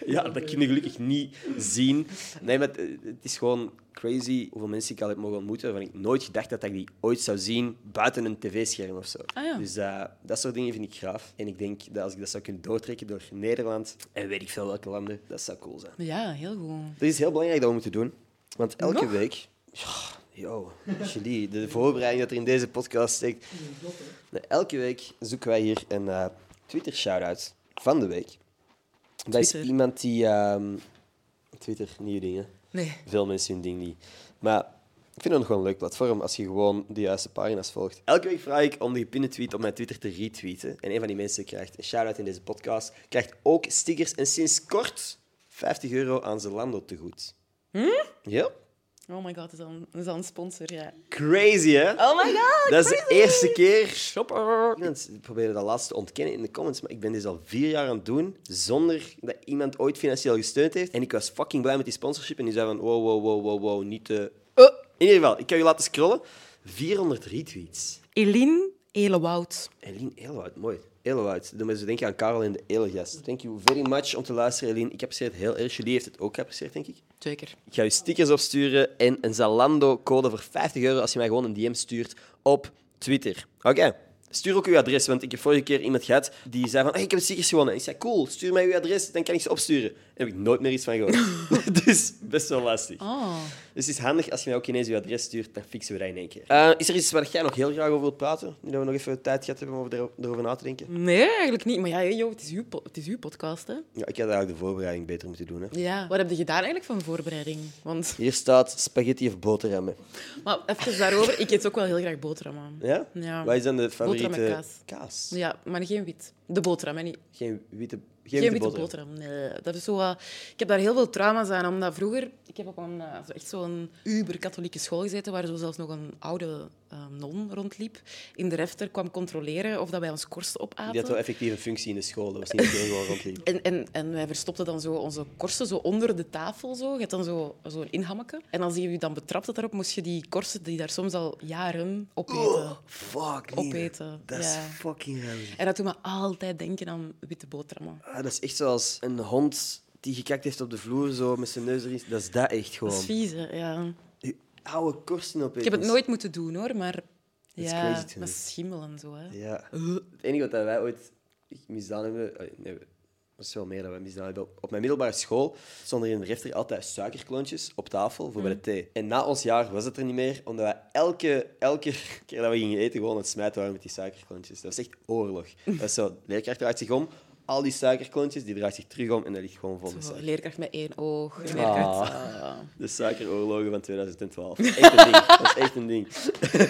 S1: Ja, dat kun je gelukkig niet zien. Nee, maar het, het is gewoon crazy hoeveel mensen ik al heb mogen ontmoeten waarvan ik nooit gedacht had dat ik die ooit zou zien buiten een tv-scherm of zo.
S2: Ah, ja.
S1: Dus eh, dat soort dingen vind ik gaaf. En ik denk dat als ik dat zou kunnen doortrekken door Nederland en weet ik veel welke landen, dat zou cool zijn.
S2: Ja, heel goed.
S1: Dat is heel belangrijk dat we moeten doen. Want elke
S2: Nog?
S1: week... Ja, Yo, Julie, de voorbereiding dat er in deze podcast steekt. Nee, elke week zoeken wij hier een eh, Twitter-shout-out van de week. Dat is
S2: Twitter.
S1: iemand die... ehm, Twitter, nieuwe dingen.
S2: Nee.
S1: Veel mensen hun ding niet. Maar ik vind het nog wel een leuk platform als je gewoon de juiste pagina's volgt. Elke week vraag ik om de gepinde tweet op mijn Twitter te retweeten. En een van die mensen krijgt een shout-out in deze podcast. Krijgt ook stickers en sinds kort 50 euro aan Zalando te goed. Hm? Ja.
S2: Oh my god, dat is al een, dat is al een sponsor, ja.
S1: Crazy, hè?
S2: Oh my god!
S1: dat is de eerste keer.
S2: Shopper!
S1: Iemand probeerde dat laatst te ontkennen in de comments, maar ik ben dit al vier jaar aan het doen zonder dat iemand ooit financieel gesteund heeft. En ik was fucking blij met die sponsorship en die zei van wow, wow, wow, wow, wow, niet te...
S2: Oh.
S1: In ieder geval, ik kan je laten scrollen. 400 retweets.
S2: Eline Elewoud.
S1: Eline Elowoud, mooi. Elowoud. Doe me zo denken aan Karel en de Elegast. Thank you very much om te luisteren, Eline. Ik apprecieer het heel erg. Jullie heeft het ook geapprecieerd, denk ik.
S2: Zeker.
S1: Ik ga je stickers opsturen en een Zalando-code voor 50 euro als je mij gewoon een DM stuurt op Twitter. Oké. Stuur ook uw adres, want ik heb vorige keer iemand gehad die zei van hey, ik heb stickers gewonnen. Ik zei cool, stuur mij uw adres, dan kan ik ze opsturen. Daar heb ik nooit meer iets van gehoord. dus best wel lastig.
S2: Oh.
S1: Dus het is handig als je mij ook ineens uw adres stuurt, dan fixen we dat in één keer. Eh, is er iets waar jij nog heel graag over wilt praten? Nu dat we nog even tijd gehad hebben om er- erover na te denken.
S2: Nee, eigenlijk niet. Maar ja, joh, het, is uw po- het is uw podcast, hè?
S1: Ja, ik had eigenlijk de voorbereiding beter moeten doen. Hè.
S2: Ja. Wat heb je gedaan eigenlijk van voorbereiding? Want,
S1: Hier staat spaghetti of boterhammen.
S2: maar even daarover, ik eet ook wel heel graag boterhammen.
S1: Ja?
S2: Ja.
S1: Wat is dan de favoriete
S2: Boterham en kaas.
S1: kaas?
S2: Ja, maar geen wit. De boterham, hè? Niet,
S1: Geen witte, geen
S2: Geen
S1: witte
S2: witte
S1: boterham.
S2: boterham. Nee, dat is zo, eh, ik heb daar heel veel trauma's aan, omdat vroeger... Ik heb op een, eh, zo echt zo'n uber-katholieke school gezeten, waar zo zelfs nog een oude eh, non rondliep. In de refter kwam controleren of dat wij ons korst opaten.
S1: Die had wel effectief een functie in de school. Dat was niet iedereen gewoon rondliep.
S2: En, en, en wij verstopten dan zo onze korsten zo onder de tafel. Zo. Je hebt dan zo'n zo zo'n inhammetje. En als je je dan betrapt had daarop, moest je die korsten die daar soms al jaren opeten.
S1: Oh. Fuck,
S2: Lien. Opeten, Dat is ja.
S1: fucking raar. Ah,
S2: En dat doet me altijd denken aan witte boterhammen.
S1: dat is echt zoals een hond die gekakt heeft op de vloer, zo met zijn neus erin. Dat is dat echt
S2: Dat is
S1: gewoon.
S2: vies, hè, ja.
S1: Je oude korsten opeten.
S2: Ik heb het nooit moeten doen, hoor, maar
S1: Dat is
S2: ja,
S1: crazy to me.
S2: met schimmel en zo. Hè.
S1: Ja. Het enige wat wij ooit misdaan hebben... eh, Nee, dat is wel meer dan we misdaan hebben. Op mijn middelbare school stonden er in de refter altijd suikerklontjes op tafel voor bij de thee. En na ons jaar was het er niet meer, omdat wij elke, elke keer dat we gingen eten gewoon aan het smijten waren met die suikerklontjes. Dat was echt oorlog. Dat is zo, de leerkracht draait zich om, al die suikerklontjes, die draait zich terug om en dat Ah. ligt gewoon vol met
S2: Zo,
S1: suiker.
S2: leerkracht met één oog. Leerkracht, eh,
S1: De suikeroorlogen van 2012. Echt een ding. Dat is echt een ding.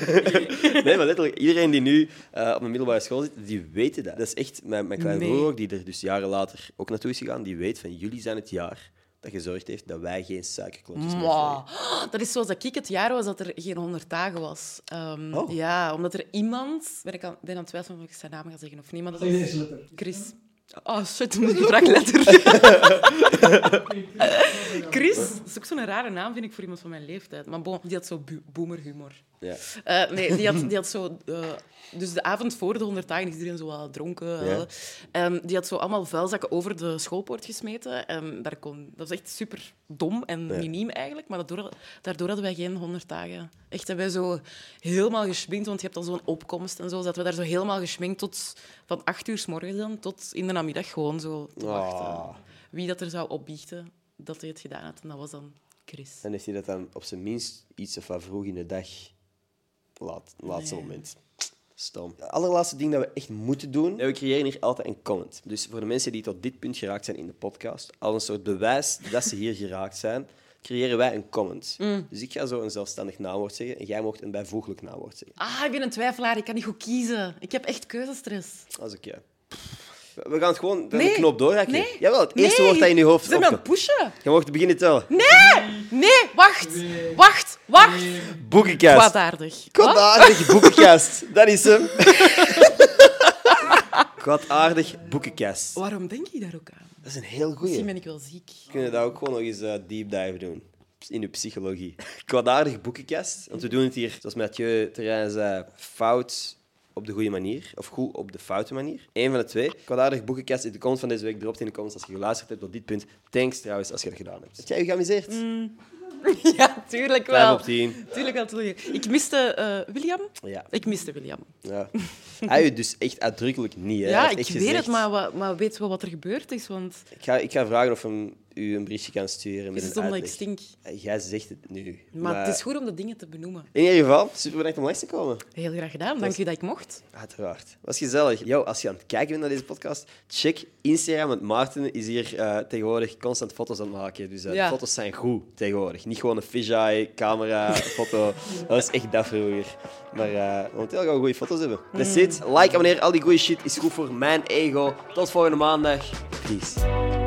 S1: nee, maar letterlijk, iedereen die nu eh, op een middelbare school zit, die weten dat. Dat is echt mijn, mijn kleine
S2: Nee.
S1: broer ook, die er dus jaren later ook naartoe is gegaan, die weet van jullie zijn het jaar dat gezorgd heeft dat wij geen suikerklontjes meer
S2: Mwah. Oh,
S1: volgen.
S2: Dat is zoals dat ik het jaar was dat er geen 100 dagen was. Ehm,
S1: Oh.
S2: Ja, omdat er iemand... Ben ik aan, ben aan het twijfelen of ik zijn naam ga zeggen of niet, maar dat
S3: Zeg
S2: is
S3: deze letter.
S2: Chris. Oh, shit, moet ik de vraagletter. Chris, dat is ook zo'n rare naam, vind ik, voor iemand van mijn leeftijd. Maar bon, die had zo bu- boomerhumor.
S1: Ja.
S2: Eh, nee, die had, die had zo... eh, dus de avond voor de 100 dagen is iedereen zo wel dronken.
S1: Ja.
S2: eh. Ehm, die had zo allemaal vuilzakken over de schoolpoort gesmeten. En daar kon, dat was echt super dom en
S1: Ja.
S2: miniem eigenlijk. Maar daardoor, daardoor hadden wij geen 100 dagen. Echt, hebben wij zo helemaal geschminkt. Want je hebt dan zo'n opkomst en zo. Zaten we daar zo helemaal geschminkt tot van 8 uur s morgens dan tot in de namiddag gewoon zo te wachten.
S1: Ah.
S2: Wie dat er zou opbiechten dat hij het gedaan had. En dat was dan Chris.
S1: En heeft hij dat dan op zijn minst iets of wat vroeg in de dag, laat, laatste
S2: Nee.
S1: moment. Stom. Het allerlaatste ding dat we echt moeten doen, we creëren hier altijd een comment. Dus voor de mensen die tot dit punt geraakt zijn in de podcast, als een soort bewijs dat ze hier geraakt zijn, creëren wij een comment.
S2: Mm.
S1: Dus ik ga zo een zelfstandig naamwoord zeggen en jij mocht een bijvoeglijk naamwoord zeggen.
S2: Ah, ik ben een twijfelaar. Ik kan niet goed kiezen. Ik heb echt keuzestress.
S1: Als ik jij. We gaan het gewoon de
S2: Nee.
S1: knop doorhakken.
S2: Nee.
S1: Jawel, het eerste
S2: Nee.
S1: woord dat in je hoofd
S2: Ze me aan het
S1: opkomt.
S2: pushen.
S1: Je mag beginnen tellen.
S2: Nee! Nee, wacht.
S3: Nee.
S2: Wacht, wacht.
S1: Boekenkast.
S2: Kwaadaardig. Wat?
S1: Kwaadaardig boekenkast. Dat is hem. Kwaadaardig boekenkast.
S2: Waarom denk je daar ook aan?
S1: Dat is een heel
S2: Misschien
S1: goeie.
S2: ben ik wel ziek.
S1: Kunnen we dat ook gewoon nog eens eh, deep dive doen? In de psychologie. Kwaadaardig boekenkast. Want we doen het hier, zoals Mathieu Terrein zei, fout op de goede manier. Of goed op de foute manier. Eén van de twee. Kwaadaardig boekenkast in de comments van deze week. Drop het in de comments als je geluisterd hebt tot dit punt. Thanks trouwens als je dat gedaan hebt. Heb jij je geamuseerd?
S2: Ja, tuurlijk
S1: 5
S2: wel.
S1: op 10.
S2: Tuurlijk wel. tuurlijk. Ik miste eh, William.
S1: Ja.
S2: Ik miste William.
S1: ja. Hij heeft het dus echt uitdrukkelijk niet. Hè.
S2: Ja,
S1: Hij heeft
S2: ik weet
S1: echt
S2: het,
S1: gezegd-
S2: maar, wa- maar weet wel wat er gebeurd is, want
S1: Ik ga, ik ga vragen of hem u een briefje kan sturen met
S2: het is
S1: een
S2: omdat ik
S1: uitleg.
S2: stink.
S1: Jij zegt het nu.
S2: Maar, het is goed om de dingen te benoemen.
S1: In ieder geval, super bedankt om langs te komen.
S2: Heel graag gedaan. Dank je dat ik mocht.
S1: Uiteraard. Was gezellig. Yo, als je aan het kijken bent naar deze podcast, check Instagram, want Maarten is hier eh, tegenwoordig constant foto's aan het maken. Dus eh,
S2: Ja.
S1: foto's zijn goed tegenwoordig. Niet gewoon een fisheye, camera, foto. Dat is echt dat vroeger. Maar eh, momenteel gaan we goede foto's hebben.
S2: Mm.
S1: That's it. Like, abonneer, al die goede shit is goed voor mijn ego. Tot volgende maandag. Peace.